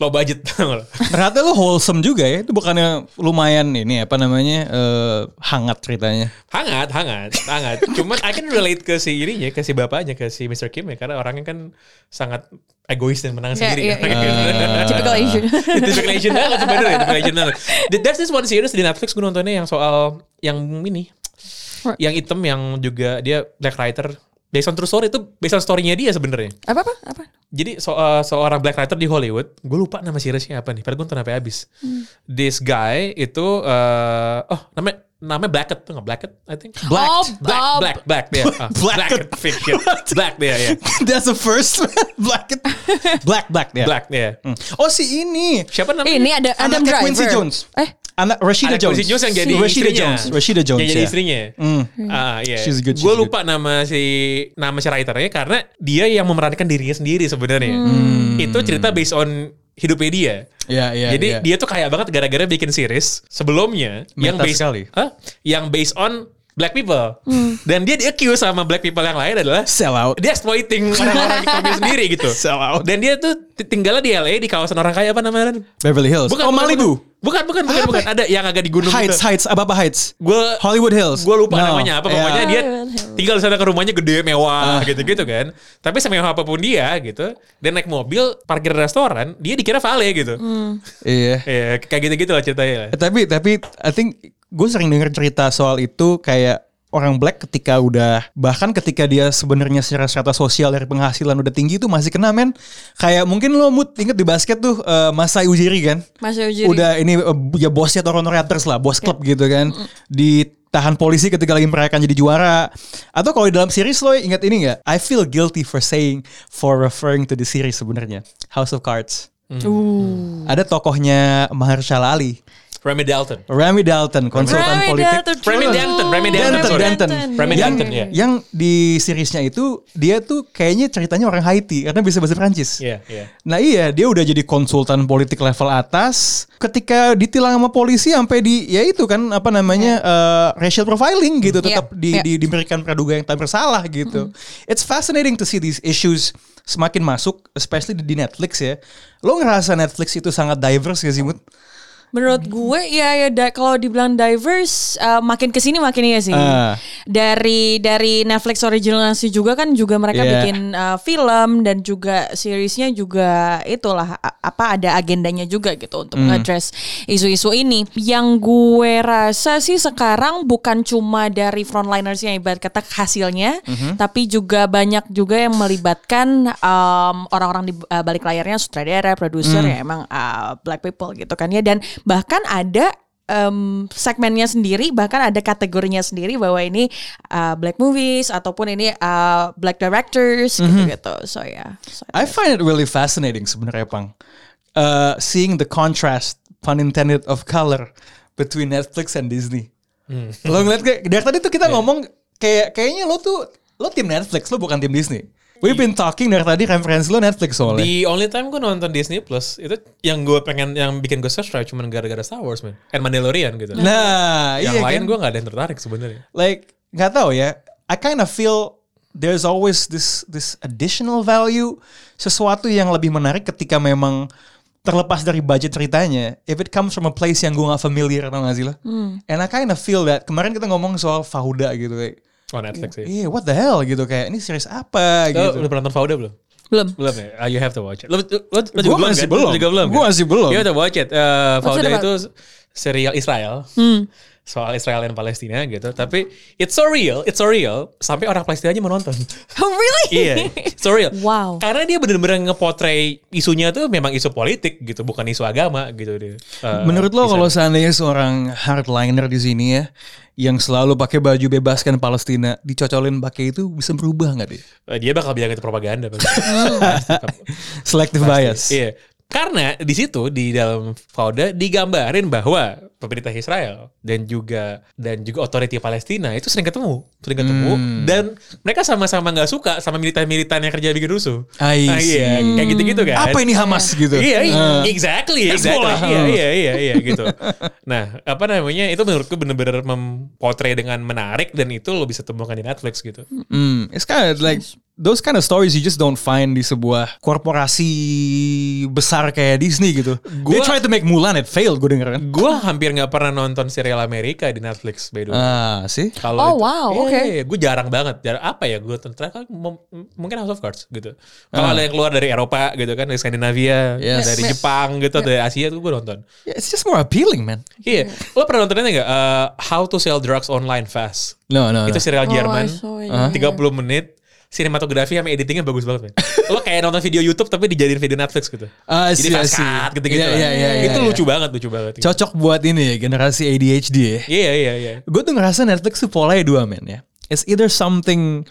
low budget tau gak lo? Ternyata lo wholesome juga ya. Itu bukannya lumayan ini apa namanya eh, hangat ceritanya. Hangat, hangat, hangat. Cuman I can relate ke si ininya, ke si bapaknya, ke si Mr. Kim ya, karena orangnya kan sangat egois dan menang Iya, sendiri. iya, kan. iya. Typical Asian. Typical Asian banget sebenarnya, typical Asian banget. Th- There's this one series di Netflix gue nontonnya yang soal yang ini, yang item yang juga dia black writer. Based on true story itu based on story-nya dia sebenarnya. Apa apa? Apa? Jadi so- uh, seorang black writer di Hollywood, gue lupa nama seriesnya apa nih. Padahal gue nonton sampai habis. Hmm. This guy itu, uh, oh namanya namanya Blackett, tuh nggak Blackett, I think. Black. Oh, Black, Bob. black, black, yeah. Uh, black, Blacked. fiction. black, yeah, yeah. That's the first man. black black black ya. Black, yeah. Oh si ini. Siapa namanya? Eh, Ini ada Adam Anaknya Driver. Quincy Jones. Eh, Anak Rashida Ada Jones. Quincy Jones yang jadi Rashida istrinya. Jones. Rashida Jones. Yang jadi ya. istrinya. Hmm. Ah, iya. She's good, she's Gue lupa nama si nama si writernya karena dia yang memerankan dirinya sendiri sebenarnya. Hmm. Itu cerita based on hidupnya dia. Iya, iya, Jadi iya. dia tuh kaya banget gara-gara bikin series sebelumnya yang Meta based sekali. Hah? yang based on black people. Dan dia di accuse sama black people yang lain adalah Sell out. dia exploiting orang-orang di kampung sendiri gitu. Sell out. Dan dia tuh t- tinggalnya di LA di kawasan orang kaya apa namanya? Beverly Hills. oh, Malibu. Bukan, bukan, Apa? bukan, bukan. Ada yang agak di gunung Heights, Heights, apa-apa Heights. Gue Hollywood Hills. Gue lupa No. Iya. namanya apa. Yeah. Pokoknya dia tinggal di sana ke rumahnya gede, Ah. mewah gitu-gitu kan. Tapi semewah apapun dia gitu. Dan naik mobil, parkir restoran, dia dikira vale gitu. Iya. Iya, kayak gitu-gitu lah ceritanya. lah. Eh, tapi tapi I think gue sering denger cerita soal itu kayak orang black ketika udah bahkan ketika dia sebenarnya secara strata sosial dari penghasilan udah tinggi itu masih kena men kayak mungkin lo mood inget di basket tuh eh, Masai Ujiri kan Masai Ujiri. udah ini eh, ya bosnya Toronto Raptors lah bos klub gitu kan ditahan polisi ketika lagi merayakan jadi juara atau kalau di dalam series lo ingat ini nggak I feel guilty for saying for referring to the series sebenarnya House of Cards Uh. ada tokohnya Mahershala Ali Rami Dalton. Rami Dalton, konsultan Rami politik. Dalton, Rami Jun. Dalton, Rami Danton, Dalton. sorry. Danton. Rami yang, Dalton, ya. yang di seriesnya itu dia tuh kayaknya ceritanya orang Haiti karena bisa bahasa Prancis. Iya, iya. Nah iya dia udah jadi konsultan politik level atas. Ketika ditilang sama polisi sampai di ya itu kan apa namanya eh, racial profiling gitu Iya, tetap di, iya. di- diberikan praduga yang tak bersalah gitu. It's fascinating to see these issues semakin masuk, especially di di Netflix ya. Lo ngerasa Netflix itu sangat diverse gak sih, Mut? Menurut gue ya ya da- kalau dibilang diverse eh, makin kesini makin iya sih. Ah. Dari dari Netflix original sih juga kan juga mereka Yeah. bikin eh, film dan juga seriesnya juga itulah a- apa ada agendanya juga gitu untuk address isu-isu ini. Yang gue rasa sih sekarang bukan cuma dari frontliners yang ibarat kata hasilnya, tapi juga banyak juga yang melibatkan em, orang-orang di eh, balik layarnya sutradara, produser ya emang eh, black people gitu kan ya dan bahkan ada em, segmennya sendiri bahkan ada kategorinya sendiri bahwa ini uh, black movies ataupun ini uh, black directors Mhm. gitu-gitu. So ya. So, I find it really fascinating sebenarnya Pang. Uh, seeing the contrast pun intended of color between Netflix and Disney. Hmm. Lo ngeliat kayak dari tadi tuh kita ngomong kayak kayaknya lo tuh lo tim Netflix lo bukan tim Disney. We've Iya. been talking dari tadi referensi lo Netflix soalnya. The only time gue nonton Disney Plus itu yang gue pengen yang bikin gue subscribe cuman gara-gara Star Wars man and Mandalorian gitu. nah, iya yang kan? lain gue nggak ada yang tertarik sebenarnya. like nggak tahu ya I kind of feel there's always this this additional value sesuatu yang lebih menarik ketika memang terlepas dari budget ceritanya if it comes from a place yang gue nggak familiar atau nggak sih lo and I kind of feel that kemarin kita ngomong soal Fauda gitu kayak Oh Netflix sih. yeah what the hell gitu kayak ini series apa Lo gitu udah pernah nonton Fauda belum? belum. Belum ya? Ah, you have to watch it. Lo, lo, lo juga Gua masih belum. Lo juga belum. kan? Gua masih belum. You have to watch it. Eh, Fauda it about? itu serial Israel. Hmm. Soal Israel dan Palestina gitu. Tapi it's so real, it's so real. Sampai orang Palestina aja mau nonton. Oh, really? Iya, it's so real. Wow. Karena dia benar-benar ngepotret isunya tuh memang isu politik gitu, bukan isu agama gitu dia. Eh, Menurut lo di kalau sana. seandainya seorang hardliner di sini ya yang selalu pakai baju bebaskan Palestina dicocolin pakai itu bisa berubah nggak deh? Eh, dia bakal bilang itu propaganda. Bang. Pasti, Selective bias. Iya. Karena di situ di dalam Fauda digambarin bahwa pemerintah Israel dan juga dan juga otoriti Palestina itu sering ketemu, sering ketemu Hmm. dan mereka sama-sama nggak suka sama militan-militan yang kerja bikin rusuh. I Nah, iya, kayak gitu-gitu kan. Apa ini Hamas gitu? Iya, iya, Eh, exactly, exactly. Hezbollah. Iya, iya, iya, iya, gitu. Nah, apa namanya? Itu menurutku bener-bener mempotret dengan menarik dan itu lo bisa temukan di Netflix gitu. Hmm, it's kind of like those kind of stories you just don't find di sebuah korporasi besar kayak Disney gitu. They Gua- try to make Mulan, it failed. Gue denger kan. Gua hampir nggak pernah nonton serial Amerika di Netflix by the way. Ah, sih. Kalau Oh, itu- wow, Iya, oke. iya, Gue jarang banget. Jarang apa ya? Gue terakhir kali mem- mungkin House of Cards gitu. Kalau ada yang keluar dari Eropa gitu kan, dari Ah. Skandinavia, Yes. dari Yes. Jepang gitu, dari Asia tuh gue nonton. Yeah, it's just more appealing, man. Iya. Lo pernah nontonnya nggak? Eh, How to Sell Drugs Online Fast. No, no, Itu no. serial Jerman. I saw it, Huh? 30 menit. Sinematografi sama editingnya bagus banget, men. Lo kayak nonton video YouTube tapi dijadiin video Netflix gitu. Ah, I see, Jadi I fast see. cut gitu-gitu. Iya, lah. iya, iya, Itu iya, lucu banget, lucu banget. gitu. Cocok buat ini ya, generasi ADHD ya. Iya, iya, iya. Gue tuh ngerasa Netflix tuh polanya dua men ya. It's either something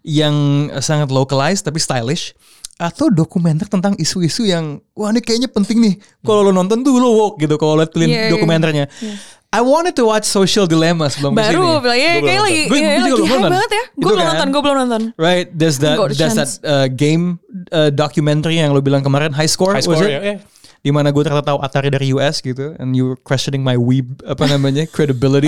yang sangat localized tapi stylish atau dokumenter tentang isu-isu yang wah ini kayaknya penting nih. Kalau lo nonton tuh lo woke gitu kalau lo liat Iya, iya. dokumenternya. I wanted to watch Social Dilemma sebelum Baru gue kesini. bilang ya Gua kayak belum lagi nonton. Gua- ya, gua juga lagi belum high nonton. banget ya. Gue Itu belum kan. nonton, gue belum nonton. Right, there's that Got a there's that chance. uh, game uh, documentary yang lo bilang kemarin High Score, High was score it? ya. iya. di mana gue ternyata tahu Atari dari US gitu and you were questioning my weeb apa namanya credibility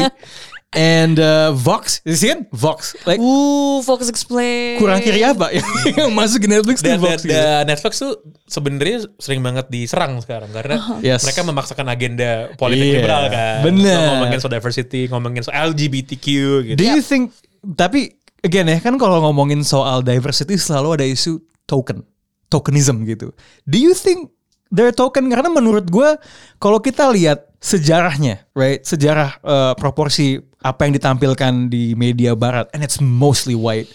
and uh, Vox you see it? Vox like Uh, Fox Explain. kurang kiri apa yang yang masuk ke Netflix tuh Dan, Vox dan- gitu. dan Netflix tuh sebenarnya sering banget diserang sekarang karena Yes. mereka memaksakan agenda politik Iya, liberal kan. bener. Ngomongin soal diversity, ngomongin soal LGBTQ gitu. Do you think tapi again ya kan kalau ngomongin soal diversity selalu ada isu token, tokenism gitu. Do you think they're token karena menurut gue kalau kita lihat sejarahnya, right? Sejarah eh, proporsi apa yang ditampilkan di media barat and it's mostly white.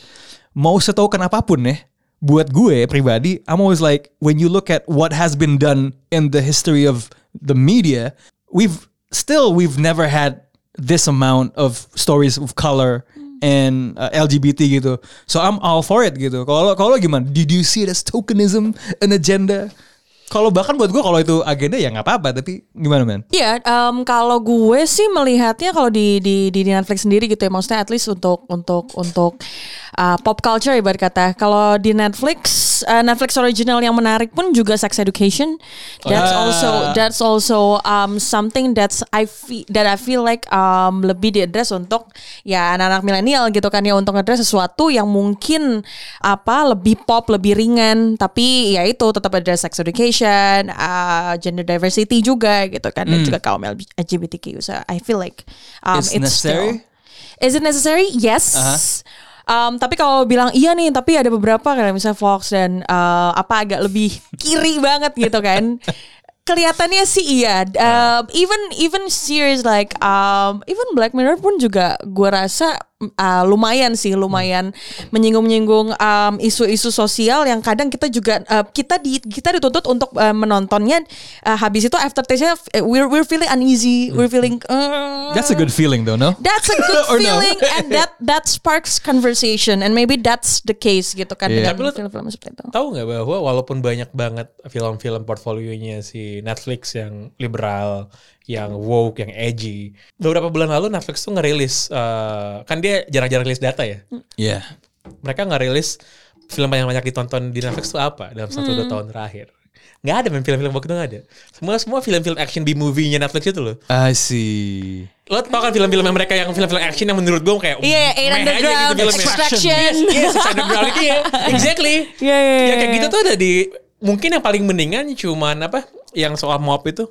Mau setoken apapun ya, buat gue pribadi, I'm always like when you look at what has been done in the history of the media, we've still we've never had this amount of stories of color Hmm. and uh, LGBT gitu. So I'm all for it gitu. Kalau kalau gimana? Did you see it as tokenism, an agenda? Kalau bahkan buat gue kalau itu agenda ya nggak apa-apa. Tapi gimana men? Iya, em, kalau gue sih melihatnya kalau di, di di di Netflix sendiri gitu ya, maksudnya at least untuk untuk untuk uh, pop culture ibarat kata. Kalau di Netflix uh, Netflix original yang menarik pun juga sex education. That's Ah. also that's also um, something that's I feel that I feel like um, lebih diadres untuk ya anak-anak milenial gitu kan ya untuk address sesuatu yang mungkin apa lebih pop, lebih ringan, tapi ya itu tetap ada sex education, uh, gender diversity juga gitu kan dan juga kaum LB- LGBTQ. So I feel like Hmm. um, It's it's, necessary? still Is it necessary? Yes. Aha. Um, tapi kalau bilang iya nih, tapi ada beberapa kayak misalnya Fox dan eh, apa agak lebih kiri banget gitu kan. Kelihatannya sih iya. Um, even even series like um, even Black Mirror pun juga gua rasa uh, lumayan sih, lumayan menyinggung-nyinggung um, isu-isu sosial yang kadang kita juga uh, kita di kita dituntut untuk uh, menontonnya uh, habis itu aftertaste-nya uh, we're we're feeling uneasy, we're feeling uh, Hmm. That's a good feeling though, no? That's a good Or no? feeling and that that sparks conversation and maybe that's the case gitu kan Iya. dengan Tapi lu- film-film seperti itu. Tahu nggak bahwa walaupun banyak banget film-film portfolionya si Netflix yang liberal, yang woke, yang edgy. Beberapa bulan lalu Netflix tuh ngerilis eh, kan dia jarang-jarang rilis data ya. Mm. Yeah. Mereka ngerilis film yang banyak ditonton di Netflix tuh apa dalam satu Mm. dua tahun terakhir. Nggak ada main film-film waktu itu nggak ada. Semua semua film-film action B movie-nya Netflix itu loh. I see. Lo tau kan film-film yang mereka yang film-film action yang menurut gue kayak Iya, yeah, Eight meh aja gitu Underground, filmnya. Extraction. Yes, yes, Eight Underground itu ya. Exactly. Iya, iya, Ya kayak iya. gitu tuh ada di mungkin yang paling mendingan cuman apa yang soal mob itu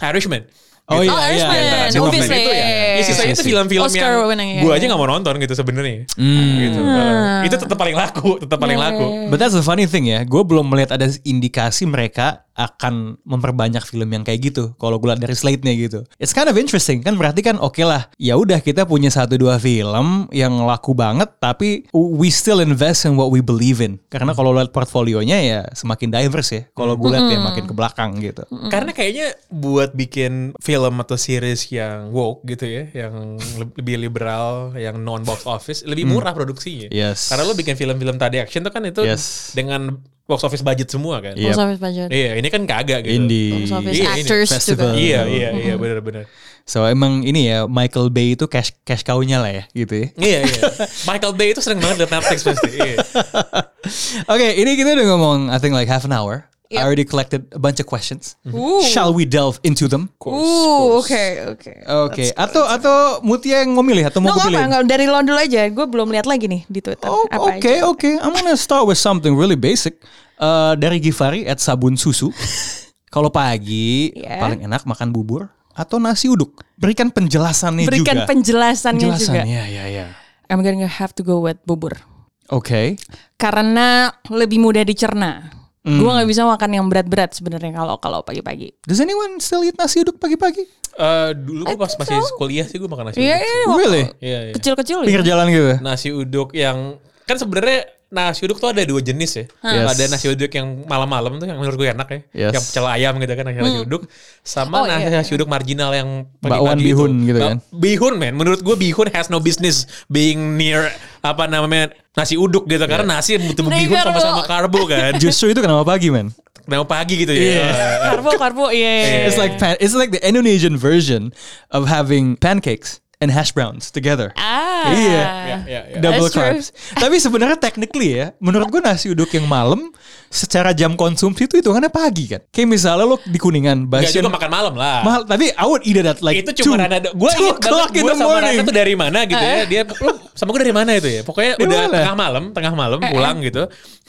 Irishman. Oh iya, Oh, iya, Irishman, iya. Nah, obviously. Itu ya. Ya sisanya Yes, itu yes. film-film Oscar yang winning, iya. ya, gue ya. aja gak mau nonton gitu sebenarnya. Hmm. Gitu. Uh, itu tetap paling laku, tetap paling Iya, laku. But that's the funny thing ya, gue belum melihat ada indikasi mereka akan memperbanyak film yang kayak gitu. Kalau gue lihat dari slate-nya gitu, it's kind of interesting kan berarti kan oke lah, ya udah kita punya satu dua film yang laku banget, tapi we still invest in what we believe in. Karena kalau lihat portfolionya ya semakin diverse ya. Kalau gue lihat ya Hmm. makin ke belakang gitu. Karena kayaknya buat bikin film atau series yang woke gitu ya, yang le- lebih liberal, yang non box office, lebih murah produksinya. Hmm. Yes. Karena lo bikin film-film tadi action tuh kan itu Yes. dengan box office budget semua kan. Iya. Box office budget. Iya, ini kan kagak gitu. Indie Box office Iya, ini actors festival. juga. Iya, iya, iya, benar-benar. So emang ini ya Michael Bay itu cash cash cow-nya lah ya gitu ya. Iya, iya. Michael Bay itu sering banget liat Netflix pasti. Iya. Oke, ini kita udah ngomong I think like half an hour. I Yep. already collected a bunch of questions. Ooh. Shall we delve into them? Uh, oke, oke. Oke, atau atau Mutia yang mau milih atau mau No, nggak gue apa, pilihin? nggak, dari London aja. Gue belum lihat lagi nih di Twitter. Oh, Apa Oke, aja. oke. I'm gonna start with something really basic. Eh, dari Givari at Sabun Susu. Kalau pagi Yeah. paling enak makan bubur atau nasi uduk. Berikan penjelasannya Berikan juga. penjelasannya penjelasan. juga. Ya, ya, ya. I'm gonna have to go with bubur. Oke. Karena lebih mudah dicerna. Gue nggak bisa makan yang berat-berat sebenarnya kalau kalau pagi-pagi. Does anyone still eat nasi uduk pagi-pagi? Eh, dulu gue I pas think masih so. kuliah sih gue makan nasi Iya, uduk. iya, Really? Iya, iya. kecil-kecil. ya. Pinggir jalan gitu. nasi uduk yang kan sebenarnya nasi uduk tuh ada dua jenis ya. Yes. Ada nasi uduk yang malam-malam tuh yang menurut gue enak ya. Yes. Yang pecel ayam gitu kan nasi nasi uduk sama Hmm. Oh, iya, nasi, iya. nasi uduk marginal yang Bakwan itu. bihun gitu Ba- kan. Bihun men, menurut gue bihun has no business being near apa namanya nasi uduk gitu karena nasi butuh Negar bihun lo. sama-sama karbo kan. Justru itu kenapa pagi, man? Kenapa pagi gitu ya. Karbo, karbo, iya. iya, It's iya. like pan- it's like the Indonesian version of having pancakes and hash browns together. Ah. Iya. Ya, ya, ya. Double That's true. carbs. Tapi sebenarnya technically ya, menurut gue nasi uduk yang malam secara jam konsumsi itu hitungannya pagi kan. Kayak misalnya lo di Kuningan, Gak Basion juga makan malam lah. mahal. Tapi I would eat it at like itu cuma two- ada gue two inget o'clock banget in gue the sama Rana morning. tuh dari mana gitu ya Eh. dia lu sama gue dari mana itu ya pokoknya Dari udah mana? tengah malam tengah malam Eh, pulang gitu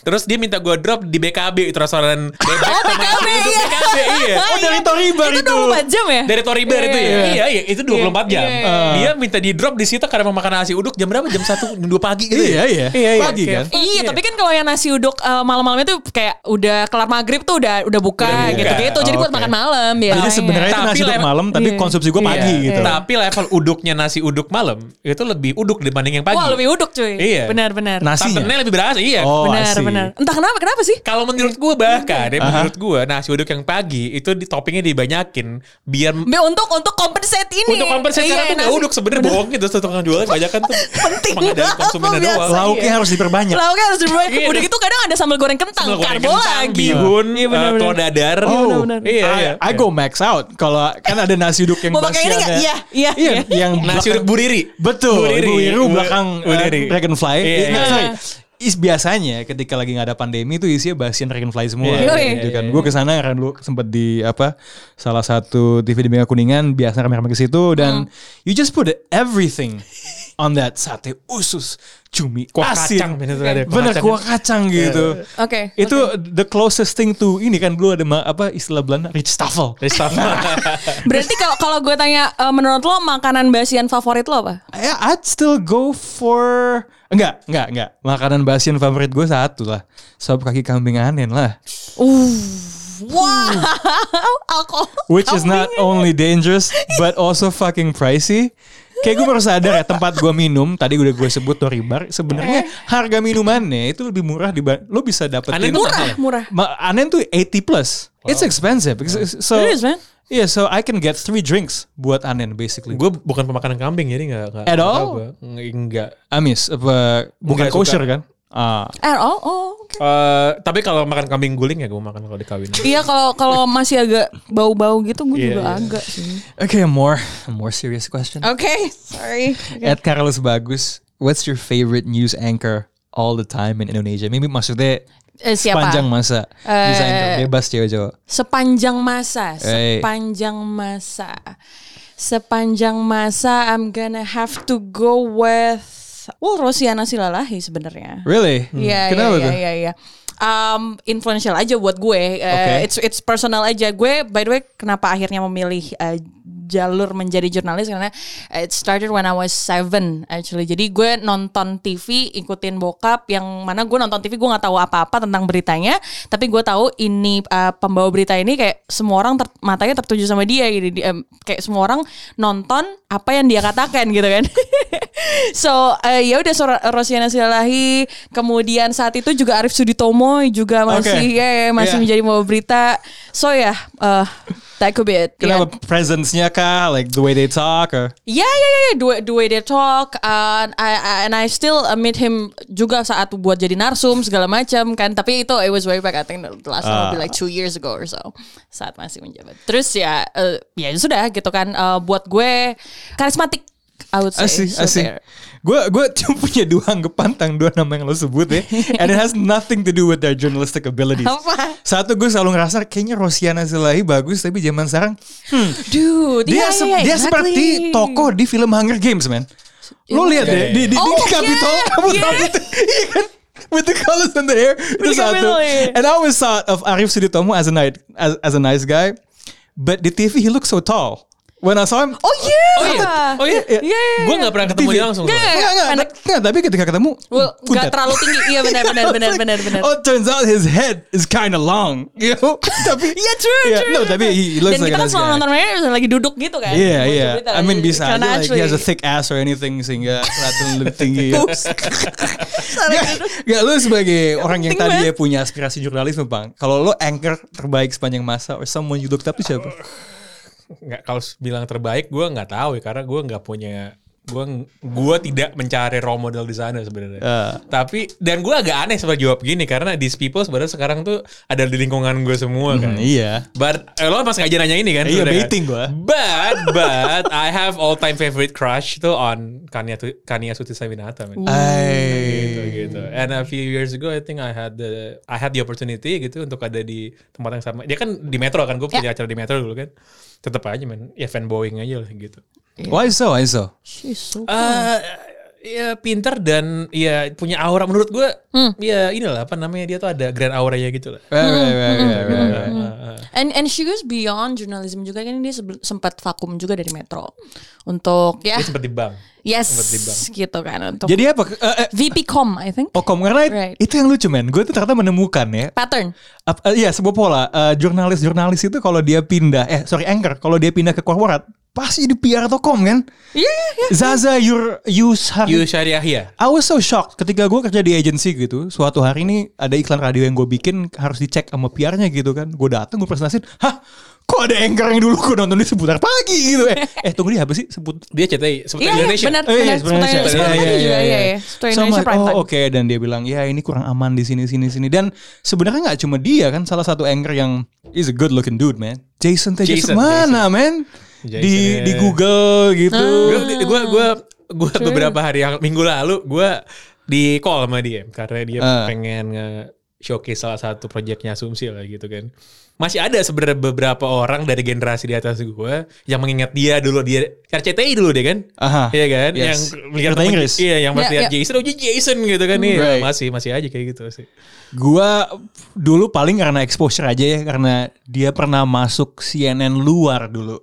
terus dia minta gue drop di BKB itu restoran bebek Oh, sama BKB, nasi uduk iya. BKB iya Oh dari Toribar Itu itu. 24 jam ya? dari Toribar itu ya Iya. iya iya itu 24 jam Iya. Ah. dia minta di drop di situ karena mau makan nasi uduk jam berapa jam 1 2 pagi gitu Iya, ya. iya. Pagi Kayak, kan? fuck, Iya, tapi kan kalau yang nasi uduk eh, malam-malam itu kayak udah kelar maghrib tuh udah udah buka buka. gitu-gitu. Jadi buat Oke. makan malam ya. Jadi sebenarnya itu Tapi nasi uduk lem- malam, tapi Iya. konsumsi gue Iya. pagi gitu. tapi level uduknya nasi uduk malam itu lebih uduk dibanding yang pagi Wah, lebih uduk cuy. Iya. Benar-benar. Nasinya. santannya lebih berasa iya Oh, I benar see. benar. Entah kenapa kenapa sih? Kalau menurut gue bahkan, Iya. ya, menurut gue nasi uduk yang pagi itu di toppingnya dibanyakin biar Be untuk untuk compensate ini. Iya, untuk kompensasi iya, karena tuh nggak uduk sebenarnya bohong gitu satu tukang jualnya banyak kan tuh Penting. pengadaan konsumennya Biasa. doang. Lauknya Iya. harus diperbanyak. Lauknya harus dibuat. Iya, Udah dan- gitu kadang ada sambal goreng kentang, Sambal goreng karbo kentang, lagi. bihun, Iya, benar, eh, benar. telur dadar. Iya, Oh, benar, benar. Iya, I, iya. I go max out. Kalau kan ada nasi uduk yang Mau pakai ini nggak? basiannya- Iya, iya, iya. Yang Nasi belakang- uduk buriri. Betul. Buriri. Ibu Iru belakang uh, Buriri. Dragonfly. Iya, Iya, iya. sorry. Is biasanya ketika lagi nggak ada pandemi itu isinya basian Dragonfly semua. Iya, iya, gitu kan. Gue kesana kan dulu sempet di apa salah satu TV di Mega Kuningan biasa rame-rame ke situ dan you just put everything on that sate usus cumi Kuah asin. kacang, bener tuh ada kuah bener kacang. Iya. kuah kacang gitu Oke. itu the closest thing to ini kan dulu ada ma- apa istilah Belanda rich stuffel Dari staff. Berarti kalau kalau gue tanya eh, menurut lo makanan basian favorit lo apa? Ya, I'd still go for enggak, enggak, enggak. Makanan basian favorit gue satu lah. Sop kaki kambing anen lah. Wow, alkohol. Which is not only dangerous but also fucking pricey. Kayak gue baru sadar ya tempat gue minum tadi udah gue sebut Toribar sebenarnya harga minumannya itu lebih murah di lo bisa dapetin Anen tuh murah, murah. Ma- anen tuh 80 plus. It's expensive. It's- So It is, man. Yeah, so I can get three drinks buat anen basically. Gue bukan pemakanan kambing jadi nggak nggak. At nggak all? tahu gua. Enggak. Amis apa bukan Enggak suka. kosher kan? Ah. Eh, oh, oh. oke. Eh, tapi kalau makan kambing guling ya gue makan kalau di kawinan. Iya kalau kalau masih agak bau-bau gitu gue Iya, juga iya. agak sih. Okay, a more a more serious question. Oke, sorry. At Carlos Bagus, what's your favorite news anchor all the time in Indonesia? Maybe maksudnya Eh, siapa? Eh, panjang masa news anchor bebas cewek cowok. Sepanjang masa, Eh. sepanjang masa, sepanjang masa, I'm gonna have to go with. Well, Rosiana Silalahi sebenarnya. Really? Iya, iya, Hmm. Kenapa iya, tuh? iya, iya. Um, influential aja buat gue. Uh, Oke. It's it's personal aja. Gue by the way kenapa akhirnya memilih uh, jalur menjadi jurnalis karena it started when I was seven actually. Jadi gue nonton TV, ikutin bokap yang mana gue nonton TV gue nggak tahu apa-apa tentang beritanya, tapi gue tahu ini uh, pembawa berita ini kayak semua orang ter- matanya tertuju sama dia gitu. Di- em, kayak semua orang nonton apa yang dia katakan gitu kan. so eh, ya udah Sor- Rosiana Silalahi kemudian saat itu juga Arif Suditomo juga masih Oke. ya, ya, Iya. masih menjadi mau berita so ya eh, that could be it Kenapa Ya. presence-nya kah? Like the way they talk or? Ya ya ya, ya. the way, the way they talk, uh, and I, I- and I still uh, meet him juga saat buat jadi narsum segala macam kan. Tapi itu it was way back, I think the last time Ah. would be like two years ago or so saat masih menjabat. Terus ya eh, ya sudah gitu kan eh, buat gue karismatik. I would say. Asih, So asih. there. Gue gue cuma punya dua anggapan tentang dua nama yang lo sebut ya. And it has nothing to do with their journalistic abilities. Apa? Satu gue selalu ngerasa kayaknya Rosiana Zelahi bagus tapi zaman sekarang Dude, dia iya, se- iya, dia exactly. seperti tokoh di film Hunger Games man lo lihat deh di di, di Oh, Capitol yeah, kamu yeah. tahu itu iya kan with the colors in the hair itu the satu Capitol, yeah. and I always thought of Arif Suditomo as a nice as, as a nice guy but di TV he looks so tall when I saw him Oh yeah. Oh iya, oh iya, Iya, iya, iya. gue nggak pernah ketemu dia langsung. Nggak, Enggak, enggak, pendek. enggak, tapi ketika ketemu Well, kuntet. nggak terlalu tinggi. Iya benar benar benar benar benar. Oh, turns out his head is kind of long, you know? tapi Iya true, Iya, true. No, true. tapi he looks Dan like a kita kan nice selalu guy. nonton mereka lagi duduk gitu kan. Iya Baca iya, berita I mean lagi. bisa. Karena aja, like, he actually- has a thick ass or anything sehingga kelihatan lebih tinggi. ya. Salah Gak, gitu. gak, lu sebagai orang yang penting tadi ya banget. punya aspirasi jurnalisme bang. Kalau lu anchor terbaik sepanjang masa or someone you looked up to siapa? nggak kalau bilang terbaik gue nggak tahu ya karena gue nggak punya gua gua tidak mencari role model di sana sebenarnya. Ah. Tapi dan gua agak aneh sebenarnya jawab gini karena these people sebenarnya sekarang tuh ada di lingkungan gue semua Hmm, kan. iya. But eh, lo pas ngajar nanya ini kan? Iya, sebenarnya baiting gua. But but I have all time favorite crush tuh on Kania Tu- Kania Sutisawinata man. Gitu, Ay. gitu. And a few years ago I think I had the I had the opportunity gitu untuk ada di tempat yang sama. Dia kan di Metro kan Ya. gue punya acara di Metro dulu kan. Tetap aja men, ya fanboying aja lah gitu. Hmm. Why so? Why so? She's so Eh ya pinter dan ya punya aura menurut gue Hmm. ya inilah apa namanya dia tuh ada grand auranya gitu lah. Eh, Right, right, right, right, right, Hmm. right. And and she goes beyond journalism juga kan dia sebel- sempat vakum juga dari Metro untuk ya Dia seperti bang. yes sempat di bank. gitu kan untuk Jadi apa? eh, eh, VP Com I think Okom karena Right. itu yang lucu men. Gue tuh ternyata menemukan ya. pattern Ap- eh, iya sebuah pola Eh, jurnalis-jurnalis itu kalau dia pindah eh sorry anchor kalau dia pindah ke korporat pasti di PR Tokom kan. Iya, iya, iya. Zaza your use You Syariah ya. I was so shocked ketika gue kerja di agency gitu. Suatu hari ini ada iklan radio yang gue bikin harus dicek sama PR-nya gitu kan. Gue datang gue presentasiin, hah kok ada anchor yang dulu gue nonton di seputar pagi gitu eh. Eh tunggu dia apa sih sebut Dia CTI seputar Iya iya Indonesia. benar Eh, benar Seputar Indonesia. Indonesia Iya, iya, Prime Time juga iya, iya iya. iya So, Seputar Indonesia I'm like, Prime Time Oh oke dan dia bilang ya ini kurang aman di sini sini sini dan sebenarnya nggak cuma dia kan salah satu anchor yang is a good looking dude man Jason Tejas Jason, mana man Jason, di ya. di Google gitu gue gue gue gue beberapa hari yang minggu lalu gue di call sama dia karena dia Ah. pengen nge showcase salah satu proyeknya asumsi lah gitu kan masih ada sebenarnya beberapa orang dari generasi di atas gue yang mengingat dia dulu dia RCTI dulu deh kan Aha. iya kan Ah. Yes. yang melihat Cerita Inggris. iya yang pas Ya, lihat ya. Jason oh Jason gitu kan iya Right. masih masih aja kayak gitu sih Gua dulu paling karena exposure aja ya karena dia pernah masuk CNN luar dulu.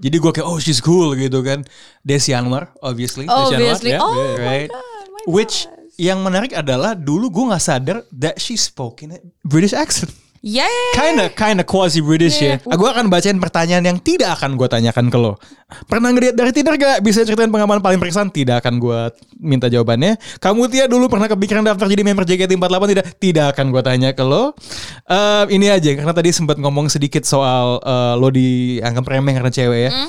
Jadi gua kayak oh she's cool gitu kan. Desi Anwar obviously. Obviously ya, Oh my right. god my Which God. yang menarik adalah dulu gua nggak sadar that she spoke in a British accent. Yeah yeah, yeah. Kinda, kinda quasi British Iya, ya. Gue akan bacain pertanyaan yang tidak akan gue tanyakan ke lo. Pernah ngeliat dari Tinder gak? Bisa ceritain pengalaman paling berkesan? Tidak akan gue minta jawabannya. Kamu Tia dulu pernah kepikiran daftar jadi member JKT48? Tidak, tidak akan gue tanya ke lo. Eh, ini aja, karena tadi sempat ngomong sedikit soal eh, lo dianggap remeh karena cewek ya.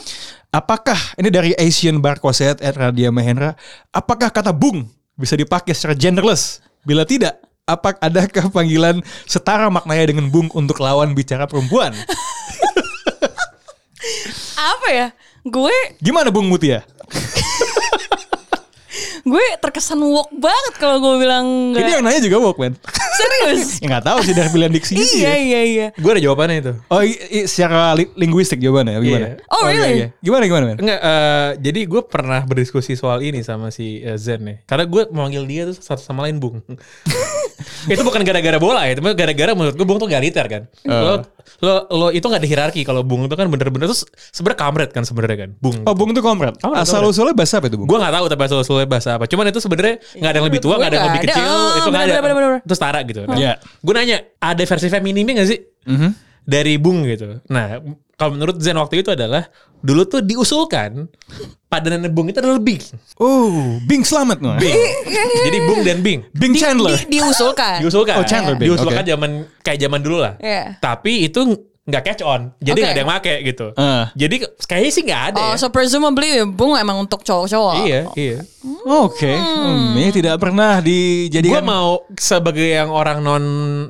Apakah, ini dari Asian Bar Koset at Radia Mahendra, apakah kata bung bisa dipakai secara genderless? Bila tidak, apa adakah panggilan setara maknanya dengan bung untuk lawan bicara perempuan? Apa ya Gue Gimana Bung Mutia? Gue terkesan woke banget Kalau gue bilang Ini enggak yang nanya juga Walkman. Serius ya nggak tahu sih dari pilihan diksinya sih. Iya ya. iya iya gue ada jawabannya itu Oh, i- i- secara li- linguistik jawabannya gimana? Iya. Oh, iya, really? iya. Gimana gimana men? Enggak, eh, jadi gue pernah berdiskusi soal ini sama si eh, Zen nih. Karena gue memanggil dia tuh satu sama lain bung. itu bukan gara-gara bola ya, tapi gara-gara menurut gue bung tuh galiter kan. Eh. Lo, lo, lo itu nggak ada hierarki kalau bung itu kan bener-bener terus sebenarnya kamret kan sebenarnya kan bung. Oh, bung itu komrad. Komrad, Asal komrad. usulnya bahasa apa itu bung? Gue nggak tahu tapi asal usulnya bahasa apa. Cuman itu sebenarnya nggak ada yang lebih tua, Iya, nggak ada yang lebih Menurut gue nggak ada. kecil, Oh, itu nggak ada. bener, bener, bener, bener. Terus setara gitu. Nah, Iya. Gue nanya ada versi femininnya nggak sih dari bung gitu. Nah kalau menurut Zen waktu itu adalah dulu tuh diusulkan padanan bung itu adalah lebih. Oh, Bing selamat no. Bing. Jadi bung dan bing. Chandler. Di- Diusulkan Diusulkan. Oh, Chandler Bing, Diusulkan oke. zaman kayak zaman dulu lah. Iya. Tapi itu nggak catch on. Jadi Oke. nggak ada yang make gitu. Ah. Jadi kayaknya sih Iya. nggak ada. Oh ya. so Oh. presumably Bung emang untuk cowok-cowok Iya, iya. Oke. Hmm, ini tidak pernah Gue dijadikan mau sebagai yang orang non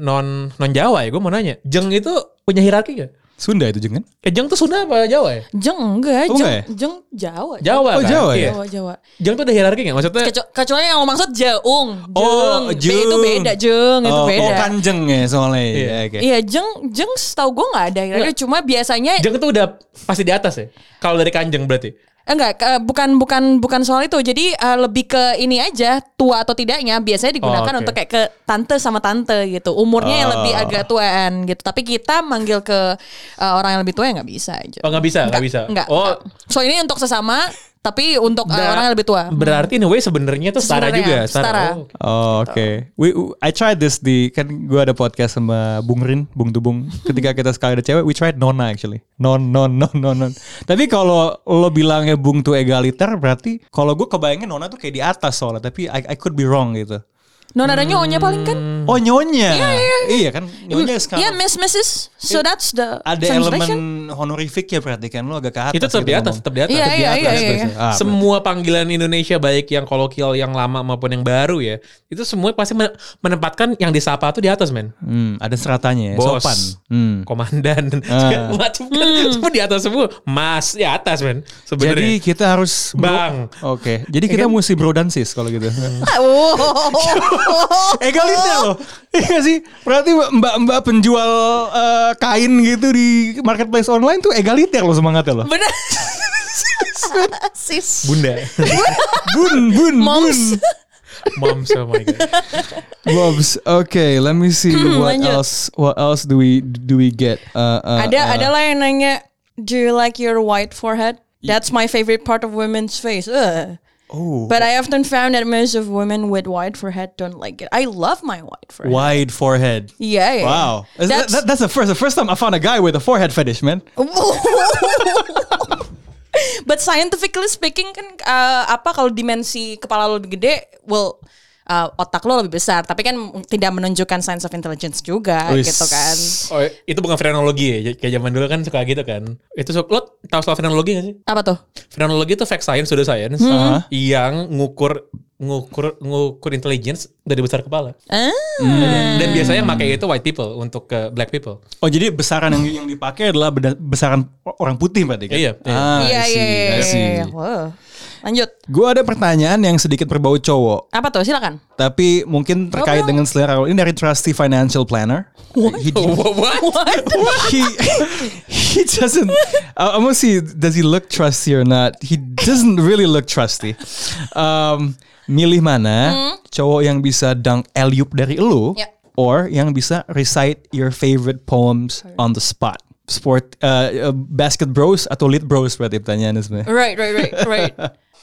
non non Jawa ya, gue mau nanya, Jeng itu punya hierarki gak? Sunda itu jeng kan? Eh, Jeng tuh Sunda apa Jawa ya? Jeng enggak, Oh, jeng, enggak ya? jeng Jawa. Jawa Oh, kan? Jawa ya? Iya. Jawa, Jawa. Jeng tuh ada hierarki gak? Maksudnya Kecu- kecuali yang lo maksud Jeung, jeng. Oh, B Jeng. itu beda, jeng itu oh, beda. oh, kanjeng ya soalnya. Iya. Iya, oke. Iya, jeng, jeng setahu gue nggak ada. Kira-kira Cuma biasanya Jeng tuh udah pasti di atas ya? Kalau dari Kanjeng berarti? eh, enggak ke- bukan bukan bukan soal itu. Jadi eh, lebih ke ini aja tua atau tidaknya biasanya Oh, digunakan oke. Ah. untuk kayak ke tante sama tante gitu. Umurnya yang lebih agak tuaan gitu. Tapi kita manggil ke eh, orang yang lebih tua ya nggak bisa aja. Oh nggak bisa, nggak bisa. Enggak. Oh, So ini untuk sesama tapi untuk eh, Nah, orang yang lebih tua. Berarti in a way sebenarnya tuh setara Sebenarnya, juga. setara. Oh, Oh, oke. Gitu. oke. We, we- I tried this di kan gua ada podcast sama Bung Rin, Bung Tubung. Ketika kita sekali ada cewek, we tried nona actually. Non non non non non. Tapi kalau lo bilangnya Bung tuh egaliter berarti kalau gue kebayangnya nona tuh kayak di atas soalnya, tapi I, I could be wrong gitu. Nona ada Hmm. nyonya paling kan? Oh nyonya. Iya, iya, Iya kan nyonya sekarang. Iya, Miss Mrs. So that's the ada elemen translation. honorific ya berarti kan lo agak ke atas. Itu tetap gitu di atas, ngomong. tetap di atas. Iya, tetap di iya, atas. ya. iya, iya. Ah, semua panggilan Indonesia baik yang kolokial, yang lama maupun yang baru ya, itu semua pasti men- menempatkan yang disapa tuh di atas, men. Hmm, ada seratanya ya, Bos. sopan. Hmm. Komandan, Ah. macam kan, Hmm. semua di atas semua. Mas di atas, men. Jadi Sebenarnya. kita harus bro- ya? Bang. Oke, jadi kita mesti bro dan sis kalau gitu. Oh. Egaliter loh. Iya sih. Berarti mbak-mbak penjual eh, kain gitu di marketplace online tuh egaliter loh semangatnya loh. Bener. Sis. Bunda. Bun, bun, bun. Moms. Mom, oh my God. Bobs. Okay, let me see what Hmm, lanjut. else. What else do we do we get? Uh, uh, Ada uh, ada lah yang nanya, "Do you like your white forehead?" That's my favorite part of women's face. Ugh. Oh, But I often found that most of women with white forehead don't like it. I love my white forehead. wide forehead. Yeah, yeah. Wow, Is that- That's- that- that's the first the first time I found a guy with a forehead fetish, man. But scientifically speaking kan uh, apa kalau dimensi kepala lo lebih gede, well uh, otak lo lebih besar, tapi kan tidak menunjukkan signs of intelligence juga Wis. gitu kan. Oh, itu bukan frenologi ya. Kayak zaman dulu kan suka gitu kan. Itu su- lo tahu soal frenologi gak sih? Apa tuh? Frenologi itu fact science sudah science Hmm. yang ngukur ngukur ngukur intelligence dari besar kepala. Ah. Hmm, Dan biasanya pakai itu white people untuk ke black people. Oh, jadi besaran yang yang dipakai adalah beda- besaran orang putih berarti kan? Iya, iya. Ah, I Iya see, iya iya, I iya. see. iya. Wow. Lanjut. Gue ada pertanyaan yang sedikit berbau cowok, Apa tuh? Silakan. tapi mungkin terkait Ngobrol. dengan selera lo. Ini dari Trusty Financial Planner. He, What? he, he doesn't. I- I'm gonna see does he look trusty or not. He doesn't really look trusty. Um, milih mana cowok yang bisa dunk alley-oop dari lu, Hmm? Ya. or yang bisa recite your favorite poems on the spot. Sport uh, uh, basket bros atau lead bros berarti pertanyaannya sebenarnya. Right, right, right, right.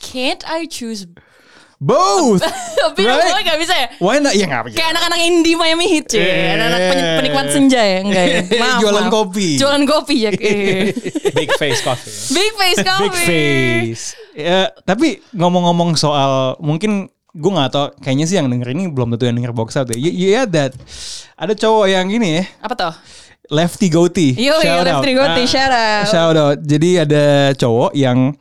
Can't I choose? Both. Tapi Right. gue gak bisa ya. Why not? Ya nggak Kayak anak-anak indie Miami Heat cuy. Eh. Anak-anak pen- penikmat senja ya, enggak ya. Maaf, Jualan maaf. kopi. Jualan kopi ya. eh. Big face coffee. Big face kopi. Big face. Ya, tapi ngomong-ngomong soal mungkin gue nggak tau kayaknya sih yang denger ini belum tentu yang denger box out ya. Y- Yeah, that ada cowok yang ini ya, Apa tuh? Lefty Goatee. Yo, yo, Shout out. Lestri Goti, Ah, shout out. Shout out. Jadi ada cowok yang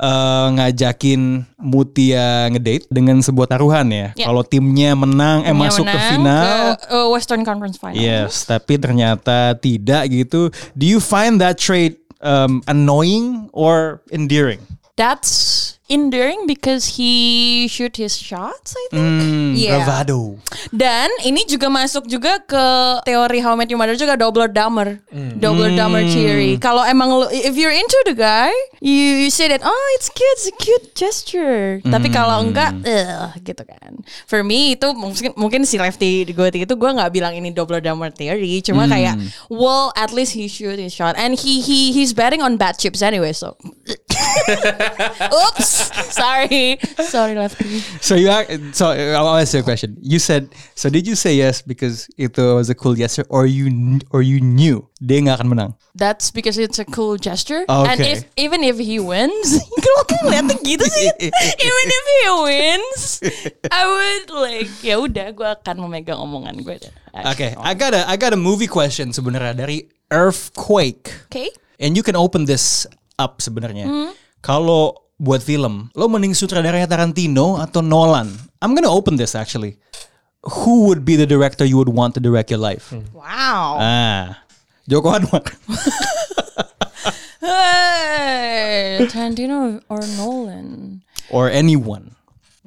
eh, ngajakin Mutia ngedate dengan sebuah taruhan ya. Ya. Kalau timnya menang, eh Yang masuk ke menang final, ke, uh, Western Conference Final. Yes, tapi ternyata tidak gitu. Do you find that trait um, annoying or endearing? That's endearing because he shoot his shots, I think. Hmm, Yeah. Bravado. Dan ini juga masuk juga ke teori How I Met Your Mother juga Doubler Dumber. Doubler Dumber theory. Kalau emang lu- if you're into the guy, you, you say that oh it's cute, it's a cute gesture. Tapi kalau enggak, eh gitu kan. For me itu mungkin mungkin si Lefty gue itu gue nggak bilang ini Doubler Dumber theory, cuma kayak well at least he shoot his shot and he he he's betting on bad chips anyway so. Oops, sorry, sorry Lefty. So you are, so uh, I'll ask you a question. You said so. Did you say yes because it was a cool yes, sir, or you kn- or you knew dia nggak akan menang? That's because it's a cool gesture. And Oh, Okay. if even if he wins, kalau aku ngeliatnya gitu sih. even if he wins, I would like ya udah gue akan memegang omongan gue. Okay, I got a I got a movie question sebenarnya dari Earthquake. Okay. And you can open this up sebenarnya. Kalau buat film, lo mending sutradaranya Tarantino atau Nolan? I'm gonna open this actually. Who would be the director you would want to direct your life? Wow. Ah, Joko Anwar. Hey, Tarantino or Nolan? Or anyone.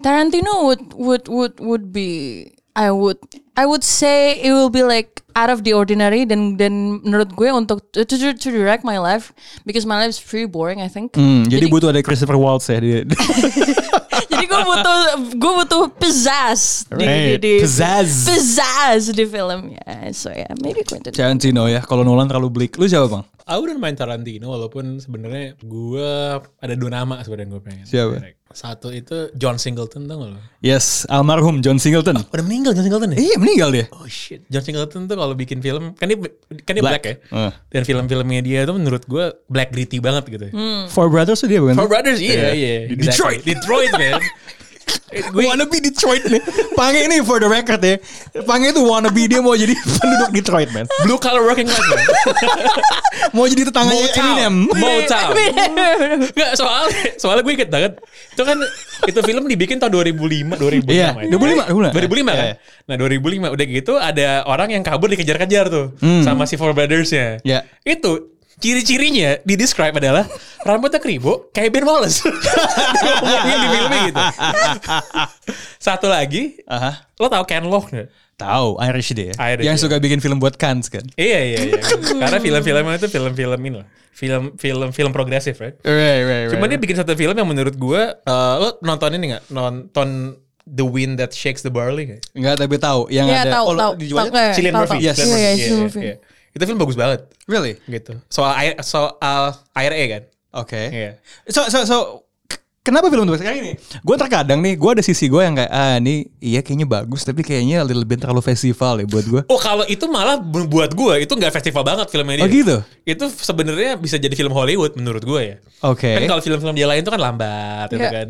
Tarantino would would would would be I would I would say it will be like out of the ordinary dan dan menurut gue untuk to, to, to direct my life because my life is pretty boring I think. Hmm, jadi, butuh ada Christopher Waltz ya. di- di- Jadi gue butuh gue butuh pizzazz di, di, Right. di Pizzazz. pizzazz di film ya. So ya, maybe Quentin. Tarantino ya. Kalau Nolan terlalu bleak. Lu siapa bang? I wouldn't mind Tarantino walaupun sebenarnya gue ada dua nama sebenarnya gue pengen. Siapa? direct. Satu itu John Singleton tau gak lo? Yes, almarhum John Singleton. Oh, Udah meninggal John Singleton ya? Iya meninggal dia. Oh shit, John Singleton tuh kalau bikin film kan dia kan dia black, Black. ya. Heeh. Dan film-filmnya dia tuh menurut gue black gritty banget gitu. ya. Four Brothers tuh dia bukan? Four Brothers iya iya. Di Detroit. Detroit man. Gue- wannabe Detroit nih. Pange ini for the record ya. Pange itu wannabe dia mau jadi penduduk Detroit man. Blue collar working class man. Mau jadi tetangganya Eminem. Iya. Motown. Iya. Nggak, soalnya soalnya gue inget banget. Itu kan itu film dibikin tahun 2005, 2006. Iya, ya. 2005, 2005. 2005 kan. Iya, iya. Nah, 2005 udah gitu ada orang yang kabur dikejar-kejar tuh sama si Four Hmm. Brothers-nya. Iya. Itu ciri-cirinya di describe adalah rambutnya keribu kayak Ben Wallace. Dia Ngomongnya di filmnya gitu. Satu lagi, Aha. lo tau Ken Loach nggak? Tahu Irish dia. ya. Irish, Yang iya. suka bikin film buat Cannes kan. Iya iya iya. Karena film-filmnya itu film-film ini lah. Film film film progresif, right? Right, right, Cuman dia bikin satu film yang menurut gue, eh, lo nonton ini nggak? Nonton The Wind That Shakes the Barley nggak? Enggak tapi tahu yang Iya, ada Oh, tahu, lo tahu. dijualnya? Tahu, eh, Cillian tahu, Murphy. tahu. Yes. Cillian Iya, iya, Murphy, Cillian Murphy. iya. Itu film bagus banget Really? gitu. Soal air soal IRA kan. Oke. Iya. So, so, so k- kenapa film itu kayak gini? Gue terkadang nih, gue ada sisi gue yang kayak ah ini iya kayaknya bagus tapi kayaknya a little bit terlalu festival ya buat gue. Oh kalau itu malah bu- buat gue itu nggak festival banget filmnya dia. Oh, gitu? Itu sebenarnya bisa jadi film Hollywood menurut gue ya. Oke. Kan kalau film-film dia lain itu kan lambat, gitu kan. Iya.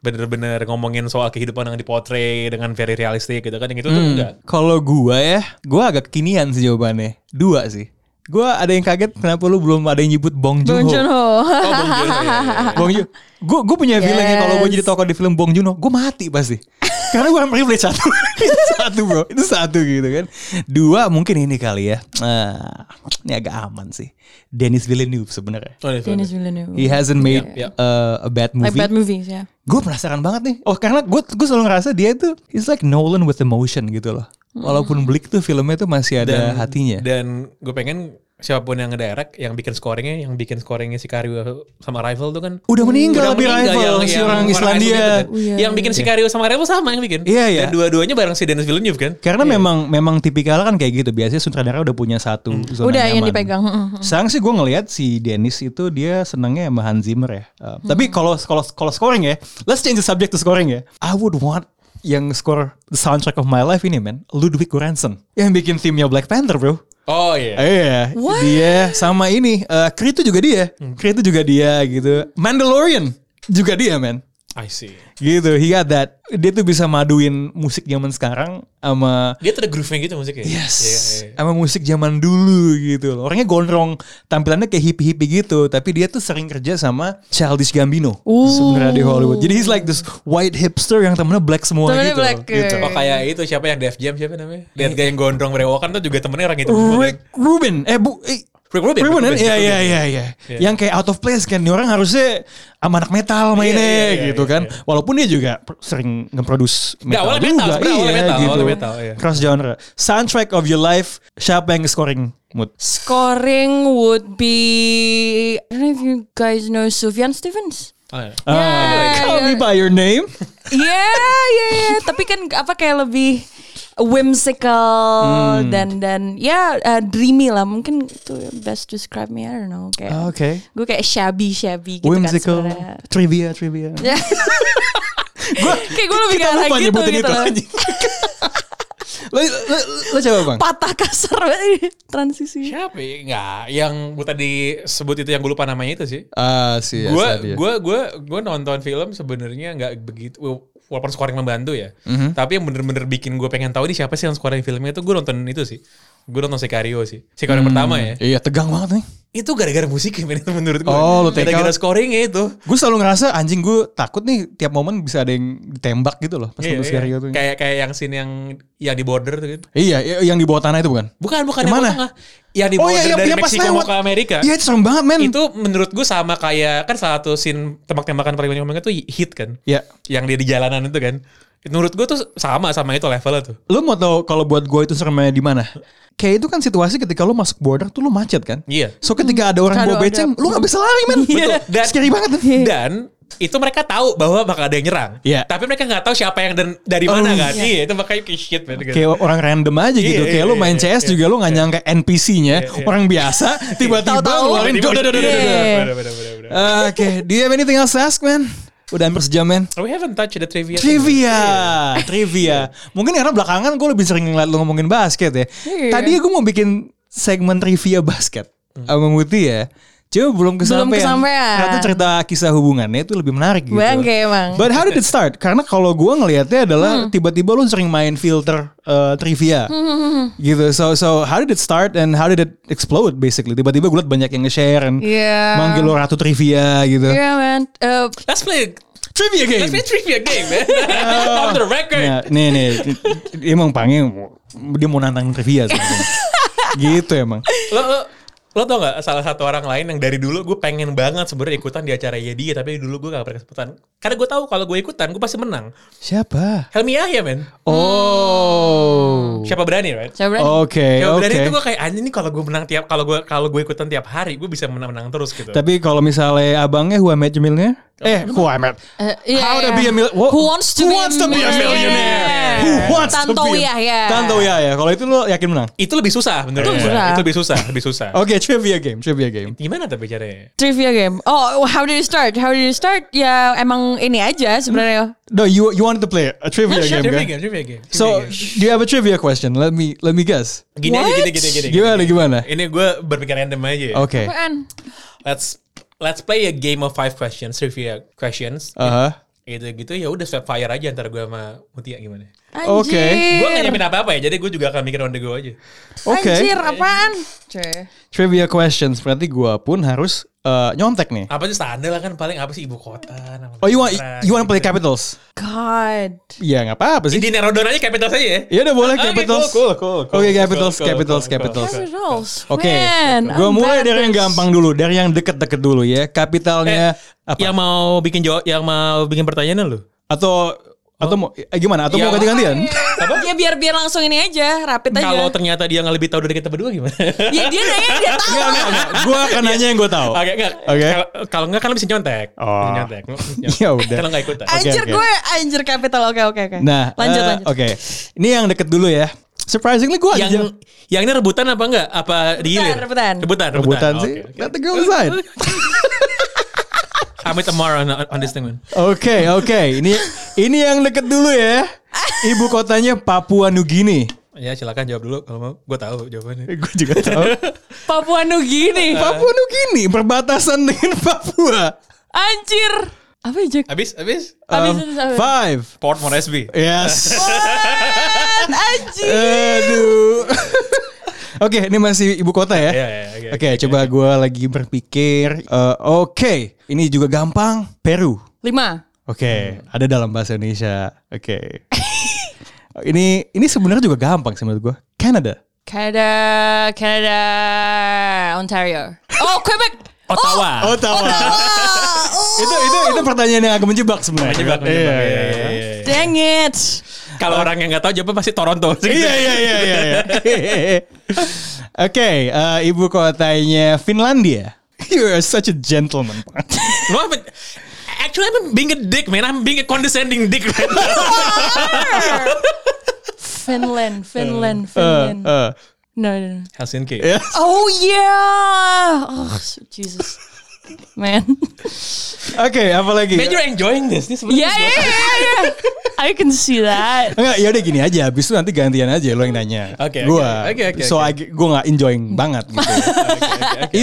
Bener-bener ngomongin soal kehidupan yang dipotret dengan very realistik gitu kan. Yang itu tuh Hmm. enggak. Hmm. Kalau gue ya, gue agak kekinian sih jawabannya. Dua sih. Gue ada yang kaget kenapa lu belum ada yang nyebut Bong Joon Bong Ho. Joon-ho. Oh, Bong Joon-ho, iya, iya, iya. Bong Joon. Gue gue punya feeling ya kalau gue Yes. jadi tokoh di film Bong Joon Ho, gue mati pasti. Karena gue privilege satu, itu satu bro, itu satu gitu kan. Dua mungkin ini kali ya. Ah, ini agak aman sih. Denis Villeneuve sebenarnya. Oh, itu Dennis ada. Villeneuve. He hasn't made Yeah, yeah. uh, a bad Like movie. bad movies ya. Gue penasaran banget nih. Oh karena gue gue selalu ngerasa dia itu he's like Nolan with emotion gitu loh. Walaupun Bleak tuh filmnya tuh masih ada hatinya. Dan gue pengen siapapun yang ngedirect, yang bikin scoringnya, yang bikin scoringnya Sicario sama Rival tuh kan Udah meninggal udah tapi meninggal rival si orang Islandia. Iceland itu kan. Oh, iya, Yang bikin Sicario sama Rival sama yang bikin. Iya, iya. Dan dua-duanya bareng si Dennis Villeneuve kan. Karena memang memang tipikal kan kayak gitu. Biasanya sutradara udah punya satu zona Udah yang nyaman. dipegang. Hmm. Mm-mm. Sekarang sih gue ngelihat si Dennis itu dia senangnya sama Hans Zimmer ya. Uh, Hmm. Tapi kalau kalau kalau scoring ya, let's change the subject to scoring ya. I would want yang score the soundtrack of my life ini man, Ludwig Göransson yang bikin timnya Black Panther bro. Oh iya. Iya, What? dia sama ini uh, Creed itu juga dia, Creed itu juga dia gitu. Mandalorian juga dia man I see. gitu he got that dia tuh bisa maduin musik zaman sekarang sama Dia tuh ada groove-nya gitu musiknya. Yes. Iya, iya. Sama musik zaman dulu gitu loh. Orangnya gondrong, tampilannya kayak hippie-hippie gitu, tapi dia tuh sering kerja sama Childish Gambino sebenarnya di Hollywood. Jadi he's like this white hipster yang temennya black semua Temennya gitu. black, loh, gitu. eh. Oh kayak itu siapa yang Def Jam siapa namanya? Eh. Lihat gaya yang gondrong berewokan tuh juga temennya orang itu. Rick Rubin, eh bu, eh, Rick Rubin. Oh. Rubin, ya Rick Rubin, Iya. Rick ya Rubin. ya ya. Yang kayak out of place kan, Ini orang harusnya sama anak metal mainnya iya, iya, gitu iya, kan. Walaupun dia juga per- sering nge-produce Nggak, metal awalnya juga, metal, sebenarnya awalnya iya, metal, gitu. awalnya metal, iya. Cross genre, soundtrack of your life, siapa yang scoring mood? Scoring would be I don't know if you guys know Sufjan Stevens. Oh, iya. Ah, Yeah, call me yeah. by your name. Iya, iya, iya. Tapi kan apa kayak lebih whimsical Hmm. dan dan ya uh, dreamy lah. Mungkin itu best describe me. I don't know. Kayak Ah, Oke. gue kayak shabby shabby gitu Whimsical kan sebenarnya. trivia trivia. Ya. kayak gue lebih Kita kayak lupa gitu nyebutin gitu. itu loh. anjing. lo, lo, lo coba bang. Patah kasar banget ini transisi. Siapa? ya? Nggak. Yang gue tadi sebut itu yang gue lupa namanya itu sih. Ah sih. gue gue gue gue nonton film sebenarnya nggak begitu walaupun scoring membantu ya Mhm. tapi yang bener-bener bikin gue pengen tahu ini siapa sih yang scoring filmnya itu gue nonton itu sih gue nonton Sicario sih Sicario yang pertama ya Iya tegang banget nih. itu gara-gara musiknya men, itu menurut gue Oh, lu take gara-gara out. scoringnya itu Gue selalu ngerasa anjing gue takut nih tiap momen bisa ada yang ditembak gitu loh pas Iya, nonton iya. Sicario tuh. kayak kayak yang scene yang yang di border tuh gitu Iya, iya, yang di bawah tanah itu bukan? iya, bukan bukan Yang yang mana? Oh, tengah yang di border dari Meksiko mau ke Amerika Iya, itu serem banget, men. itu menurut gue sama kayak kan salah satu scene tembak-tembakan paling banyak ngomongnya tuh hit kan Iya. yang dia di jalanan itu kan menurut gue tuh sama sama itu levelnya tuh Lu mau tau kalau buat gue itu seremnya di mana? Kayak itu kan situasi ketika lu masuk border tuh lu macet kan? Iya. So ketika ada orang bawa Kalau ada- beceng, lu gak bisa lari men. Betul. Dan- Scary banget. men. Dan itu mereka tahu bahwa bakal ada yang nyerang. Iya. Oh, Tapi mereka nggak tahu siapa yang dan dari mana kan. Iya. itu makanya kayak shit man. gitu. Kayak orang random aja gitu. Iya, Kayak iya, lu main iya, CS juga lu gak nyangka NPC-nya. Orang biasa tiba-tiba Tahu-tahu. ngeluarin. Tiba-tiba- duh, duh, duh, duh, duh, duh. Iya. Bener, bener, bener, bener. Oke, do you have anything else to ask man? Udah hampir sejam men. Oh, We haven't touched the trivia. Iya. Trivia, Iya. trivia. Mungkin karena belakangan gue lebih sering ngeliat lo ngomongin Hmm. basket ya. Tadi gue mau bikin segmen trivia basket sama Muti ya. Cuma belum kesampaian. kesampaian. Ternyata cerita kisah hubungannya itu lebih menarik gitu. Bangke emang. But how did it start? Karena kalau gue ngelihatnya adalah Hmm. tiba-tiba lu sering main filter uh, trivia hmm, gitu. So so how did it start and how did it explode basically? Tiba-tiba gue liat banyak yang nge-share and Yeah. manggil lu ratu trivia gitu. Yeah Iya. man. Eh, Let's play Trivia game. Let's play trivia game man. On the record. Nah, nih nih dia emang panggil dia mau nantang trivia sebenarnya. gitu emang. Lo, lo, lo tau gak salah satu orang lain yang dari dulu gue pengen banget sebenarnya ikutan di acara ya dia tapi dulu gue gak pernah kesempatan karena gue tahu kalau gue ikutan gue pasti menang Siapa? Helmi Yahya men Oh. siapa berani right siapa berani? Oke, Siapa Ya, berani Eh, oke. itu gue kayak anjing nih kalau gue menang tiap kalau gue kalau gue ikutan tiap hari gue bisa menang-menang terus gitu Tapi kalau misalnya abangnya Huamet Jamilnya, eh Huamet. Eh, iya, How to iya. be a mil- Who wants to, Who be, wants a to be a millionaire? millionaire? Who wants to be? iya. Tantowi Yahya. Tantowi Yahya. ya. Kalau itu lo yakin menang. itu lebih susah bener Iya, Itu itu, susah. itu lebih susah lebih susah Oke, trivia game, trivia game. gimana tapi caranya Trivia game. Oh, how did you start? How did you start? Ya emang ini aja sebenarnya. No, you you wanted to play a trivia game, trivia kan? game trivia game trivia So, game. do you have a trivia question? Let me let me guess. gini aja What? gini gini gini Gimana Oh. gimana? ini gue berpikir random aja ya. Oke. Apaan? let's let's play a game of five questions trivia questions Aha. gitu gitu ya udah swap fire aja antara gue sama Mutia gimana Oke. gue gak Anjir. nyiapin apa apa ya jadi gue juga akan mikir on the go aja Oke. Anjir, apaan? Cuy. Trivia questions berarti gua pun harus eh, nyontek nih. apa sih standar lah kan paling apa sih ibu kota nama Oh, you want negara, you want to play gitu. capitals? God. Iya, nggak apa-apa sih. di Nerodon aja capital saja ya Ya udah boleh Oke, capitals. cool, cool, cool, Oke, cool, capitals, cool, cool, capitals, cool, capitals. cool. Capitals. Oke, Man, gue I'm mulai bad dari yang at this. gampang dulu, dari yang deket-deket dulu ya. Kapitalnya apa? yang mau bikin jawab yang mau bikin pertanyaan lu Atau atau mau eh, gimana? Atau mau Ya, ganti-gantian? Ya biar biar langsung ini aja, rapid aja. kalau ternyata dia nggak lebih tahu dari kita berdua gimana ya dia nanya dia tahu. gue akan nanya yang gue tahu. Oke, enggak. Oke. Kalau kalau enggak kan lo bisa nyontek. Oh. Bisa nyontek. Ya udah. Kalau enggak ikutan. Anjir oke. gue, anjir capital. Oke oke oke. Nah, lanjut eh, lanjut. Oke, ini yang deket dulu ya. Surprisingly gue yang yang ini rebutan apa enggak? Apa digilir? rebutan. Rebutan, rebutan. rebutan Oh, sih. oke, oke. Let the girl decide. I'm with Amar on, on this thing, man. Oke, oke. Ini ini yang deket dulu ya. Ibu kotanya Papua Nugini. Ya, silakan jawab dulu kalau mau. Gue tahu jawabannya. Gue Eh, juga tahu. Papua Nugini. Papua Nugini berbatasan dengan Papua. Anjir. Apa ya Jack? Habis, habis. Habis Um, itu, habis. five. Port Moresby. Yes. Apaan? Anjir. Aduh. Oke, ini masih ibu kota ya. Iya, iya, oke, Oke, coba gue lagi berpikir. Eh, Oke, ini juga gampang. Peru. Lima. Oke, ada dalam bahasa Indonesia. Oke. ini ini sebenarnya juga gampang sih menurut gue. Canada. Canada, Canada, Ontario. Oh Quebec. Ottawa. Oh, tahu. itu itu itu pertanyaan yang agak menjebak sebenarnya. Menjebak, Iya, menjebak, iya, iya, iya, iya. Dang it. Kalau orang yang nggak tahu jawabnya pasti Toronto. Iya iya iya iya. iya. Oke, eh, ibu kotanya Finlandia. You are such a gentleman. No, I'm a- actually I'm being a dick, man. I'm being a condescending dick. Man. Finland, Finland, Eh, Finland. eh. No, no, no. Helsinki. Oh yeah. Oh Jesus. Man. Oke, apa lagi? Man, you're enjoying this. Ini sebenarnya. Yeah, yeah, yeah, yeah. I can see that. Enggak, ya udah gini aja. Habis itu nanti gantian aja lo yang nanya. Oke, oke, Gua. oke, oke, So I, gua nggak enjoying banget gitu.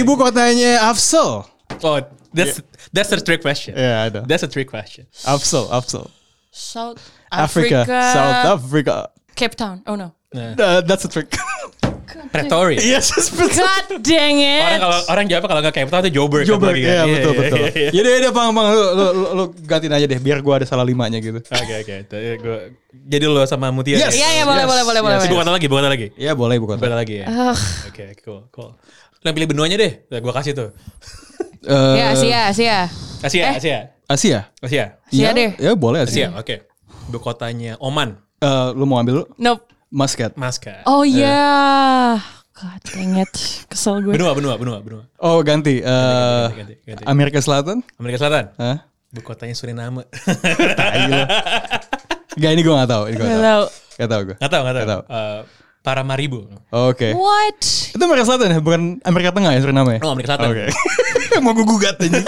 Ibu kotanya Afsel. Oh, that's that's a trick question. Ya, ada. That's a trick question. Afsel, Afsel. South Africa, Africa, South Africa. Cape Town. Oh no. Th- that's a trick. Pretoria. yes, it's God Orang dang it. kalau orang jawab kalau nggak Cape Town itu Joburg. kan Joburg, lagi kan? ya betul Iya, iya, betul. iya, iya. Ya udah, udah, bang, bang, lu, lu, lu- lu gantiin aja deh, biar gua ada salah limanya gitu. Oke oke. Jadi gua- Jadi lo sama Mutia. Yes. Iya, iya, boleh, Yes, boleh, boleh, yes. boleh. Ah. Ibu kota lagi, ibu kota lagi. Ya boleh ibu Ibu kota. kota lagi ya. Ugh. Uh, Oke, cool, cool. Lo pilih benuanya deh. Nah, gua kasih tuh. ya, Eh, Ya, Asia, Asia. Eh. Asia, Asia. Asia. Asia. Asia Ya, deh. Ya boleh Asia, Asia. oke. Ibu kotanya Oman, Eh, lu mau ambil lu? Nope. Muscat. Maska. Oh yeah. God dang it. Kesel gue. Benua, benua, benua, benua. Oh ganti. Eh, ganti, ganti. Amerika Selatan. Amerika Selatan. Hah? Ibu kotanya Suriname. Gak ini gue gak tau. Ini gue Gak gak tau. tahu. Gak tau gue. Gak tau, gak Nggak tau. tahu. Eh, Paramaribo. Eh. Oke. What? Itu Amerika Selatan ya, bukan Amerika Tengah ya Suriname ya? Oh, Amerika Selatan. Oke. Mau gue gugat aja.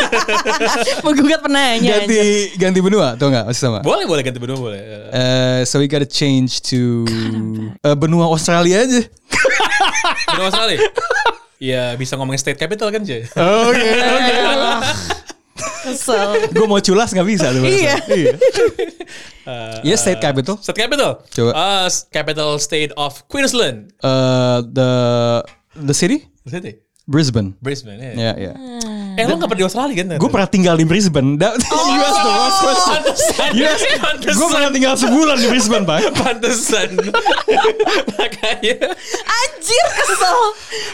Menggugat penanya. ganti anjir. ganti benua atau enggak? Masih sama. Boleh, boleh ganti benua, boleh. Eh, Eh, so we gotta change to eh, benua Australia aja. benua Australia. Ya bisa ngomongin state capital kan Jay? Oke. Kesel. Gue mau culas nggak bisa lu. Iya. Eh, Iya state capital. State capital. Coba. Ah, s- capital state of Queensland. Uh, the the city State. Brisbane. Brisbane. Ya. Ya ya. Eh lo nggak pernah di Australia kan? Gue pernah tinggal di Brisbane. That, US the last question. Pantesan. Yes. Gue Pantesan. Iya pernah tinggal sebulan di Brisbane, Pak. Pantesan. Makanya. Anjir kesel.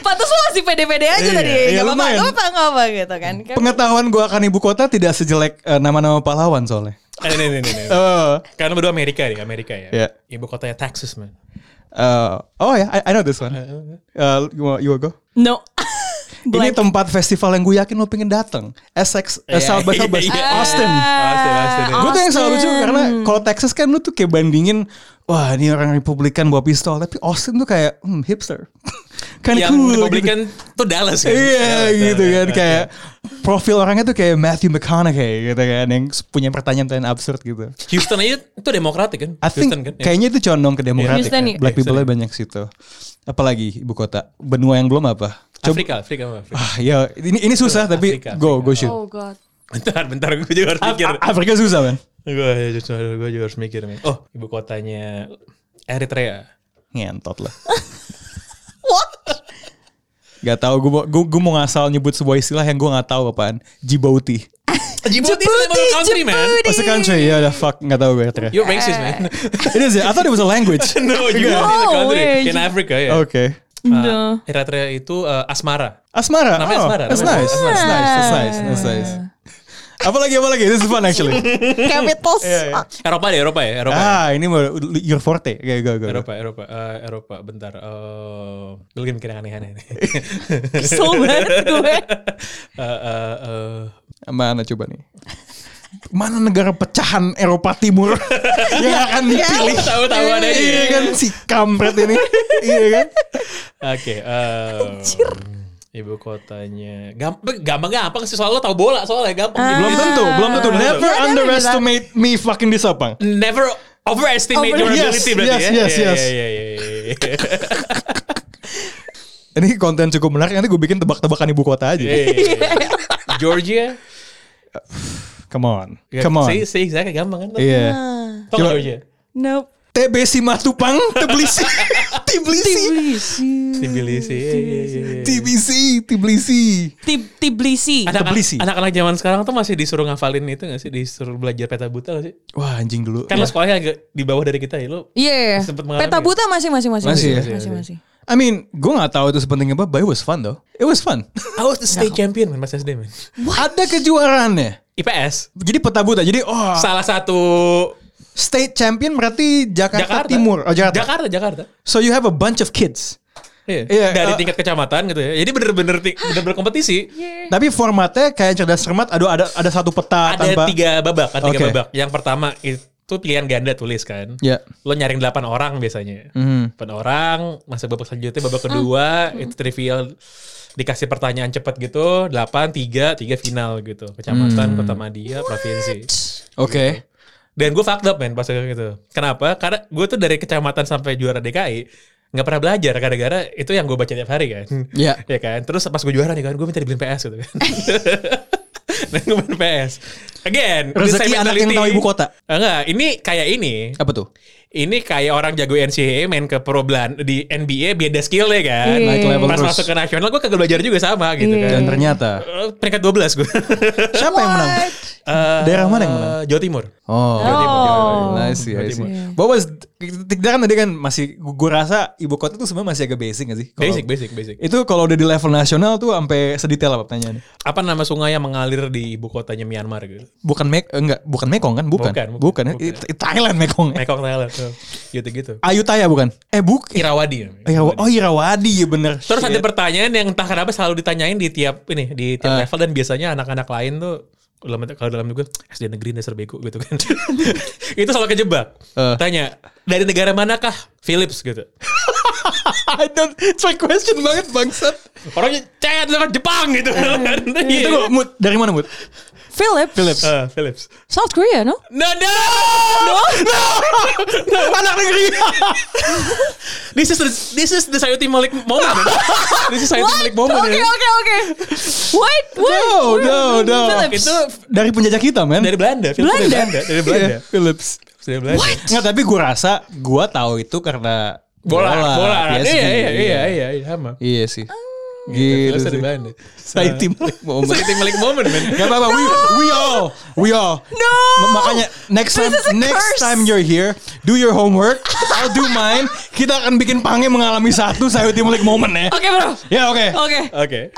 Pantes lu masih pede-pede aja Iya, tadi. iya, Gak apa-apa, lumayan. gak apa-apa, gak apa-apa gitu kan. Kan- Pengetahuan gue akan ibu kota tidak sejelek eh, nama-nama pahlawan soalnya. Eh, Nih, nih, nih, nih. Oh, Karena berdua Amerika nih, Amerika ya. Iya. Ibu kotanya Texas, man. uh, oh ya, I, I know this one. Uh, you, wa- you wanna go? No. Ini Black. tempat festival yang gue yakin lo pengen datang. Essex, eh, Iya, South by iya, Southwest, iya. Austin. ya. Pasti, pasti. Ah, Gue tuh yang selalu lucu Austin. karena kalau Texas kan lu tuh kayak bandingin, wah ini orang Republikan bawa pistol, tapi Austin tuh kayak hmm, hipster, kan Yang cool. Republikan tuh Dallas Gitu. kan. Iya gitu Dallas, Dallas, kan Dallas. kayak profil orangnya tuh kayak Matthew McConaughey gitu kan yang punya pertanyaan-pertanyaan absurd gitu. Houston aja itu demokratik kan? I think Houston kan? ya. kayaknya itu condong ke demokratik. Houston, iya. Black Houston, people iya. banyak situ. Apalagi ibu kota, benua yang belum apa? Coba Afrika, Afrika, Afrika. ah, ya ini ini susah tapi Afrika, go go shoot. Oh god. Bentar, bentar gue juga harus mikir. A- Afrika susah kan? Gue gue juga harus mikir. men. Oh, ibu kotanya Eritrea. Ngentot lah. What? Gak tau, gue gue mau ngasal nyebut sebuah istilah yang gue gak tahu apaan. Djibouti. Djibouti is a Djibouti, country, man. Djibouti. What's the country? Ya udah fuck, gak tau gue Eritrea. You're Eh. racist, man. It is, I thought it was a language. no, Djibouti is a No country way. in Africa, ya. Oke. Ah. No. Eritrea itu eh, asmara. Asmara. Namanya oh, Asmara, That's namanya nice. Asmara. That's nice. That's nice. That's Ah. nice. Apalagi apalagi this is fun actually. Capitals. Iya, Eropa deh, Eropa ya, Eropa. ya. ah, ini mau your forte. Oke, go go. go. Eropa, Eropa, Eh, Eropa. Bentar. Eh, gue lagi mikir yang aneh-aneh. nih. iya. Kesel banget gue. Eh, eh, eh, Mana coba nih? Mana negara pecahan Eropa Timur yang akan dipilih? Tahu, tahu ada aja. Iya kan si kampret ini. Iya kan? Oke. eh, Ibu kotanya gampang, gampang gampang sih soalnya lo tau bola soalnya gampang. Belum tentu, Ah. belum tentu. Never Iya, kan, underestimate me fucking disapang. Never overestimate your Over- ability Yes, berarti yes, ya. yes, Iya, yes. iya, iya, iya, iya. Ini konten cukup menarik. Nanti gue bikin tebak-tebakan ibu kota Iya, aja. iya, iya. Georgia. Come on, Ya, come on. Say, say exactly gampang kan? lo? Iya. Tau nggak Coba- Georgia? Ah. Nope. TBC Matupang, Tbilisi, Tbilisi, Tbilisi. iya, iya, iya, iya. Tbilisi, Tbilisi. Tib- Tiblisi. Anak- Tbilisi. Anak-anak zaman sekarang tuh masih disuruh ngafalin itu gak sih? Disuruh belajar peta buta gak sih? Wah anjing dulu. Iya. Kan lo sekolahnya agak di bawah dari kita ya. Lo Iya. Sempet mengalami Peta ya? buta masih masih masih Masih ya? masih masih. masih. I mean, gue gak tahu itu sepenting apa, but it was fun though. It was fun. I was the state champion man, Mas SD man. Ada kejuaraannya. IPS. Jadi peta buta. Jadi oh, Salah satu state champion berarti Jakarta, Jakarta. Timur. Oh, Jakarta. Jakarta, Jakarta. So you have a bunch of kids. Iya. Iya, Dari eh, Iya. tingkat kecamatan gitu ya. Jadi bener-bener ti- bener-bener kompetisi. Tapi formatnya kayak cerdas cermat. Aduh ada ada satu peta Ah, Ada tanpa. tiga babak, ada tiga Oke. babak. Yang pertama itu pilihan ganda tulis kan. Ya. Lo nyaring 8 orang biasanya. Mhm. 8 orang, masuk babak selanjutnya Ah. babak kedua Hmm. itu trivial dikasih pertanyaan cepat gitu, 8 3 3 final gitu. Hmm. Kecamatan, kota Madia, provinsi. Oke. Dan gue fucked up men pas gitu. Kenapa? Karena gue tuh dari kecamatan sampai juara DKI nggak pernah belajar gara-gara itu yang gue baca tiap hari kan. Iya. ya kan. Terus pas gue juara nih kan, gue minta dibeliin PS gitu kan. Dan gue main PS. Again, this Rezeki same anak yang mentality. tahu ibu kota. Enggak, ini kayak ini. Apa tuh? Ini kayak orang jago NCAA main ke pro Belan- di NBA beda skill ya kan. Iya. Naik level Pas terus. Iya. masuk ke nasional gue kagak belajar juga sama gitu Dan kan. ternyata Eh, Peringkat 12 gue. siapa yang menang? Eh, Daerah mana yang menang? Jawa Timur. Oh. Oh. I see, I Jawa Timur. see. But was Tikda kan tadi kan masih gue rasa ibu kota tuh sebenarnya masih agak basic gak sih? Kalau- Basic, basic, basic. Itu kalau udah di level nasional tuh sampai sedetail apa pertanyaannya? apa nama sungai yang mengalir di ibu kotanya Myanmar gitu. Bukan Mek eh, enggak, bukan Mekong kan? Bukan. Bukan, Bukan. bukan, bukan. It- it- Thailand Mekong. Eh. Mekong Thailand tuh. gitu-gitu. Ayutthaya bukan? Eh buk. Irawadi. Irawa- oh Irawadi ya bener. Terus Shit. ada pertanyaan yang entah kenapa selalu ditanyain di tiap ini di tiap Ah. level dan biasanya anak-anak lain tuh dalam kalau dalam gue SD negeri dasar bego gitu kan. itu selalu kejebak. Eh. Tanya, dari negara manakah? Philips gitu. I don't, it's my question banget bangsat. Orangnya cewek dari Jepang gitu. Itu Itu gua, Mut, dari mana Mut? Philip. Ah, Philips. South Korea, no? No, no, no, no, anak negeri. this is the, this is the Sayuti Malik moment. man. this is Sayuti Malik moment. Oke, ya. oke, oke. What? What? No, Where- no, no. Philips. Itu Dari penjajah kita, men. dari Belanda. Philips Belanda? Dari Belanda. Iya, Philips. Philips Dari Belanda. Nggak, tapi gue rasa gue tahu itu karena Bola, bola. PSG. Iya, iya, iya, iya, iya, sama. Iya sih. Ah. Philips Gitu sih. dari Belanda. Saya tim moment. Sayuti Malik moment, man. Gak apa-apa, we, we all, we all. No. Ma- Makanya next time, This is a next curse. time you're here, do your homework. I'll do mine. Kita akan bikin Pange Oh, mengalami satu Sayuti Mulik moment ya. Oke, bro. Ya oke. Oke. Oke.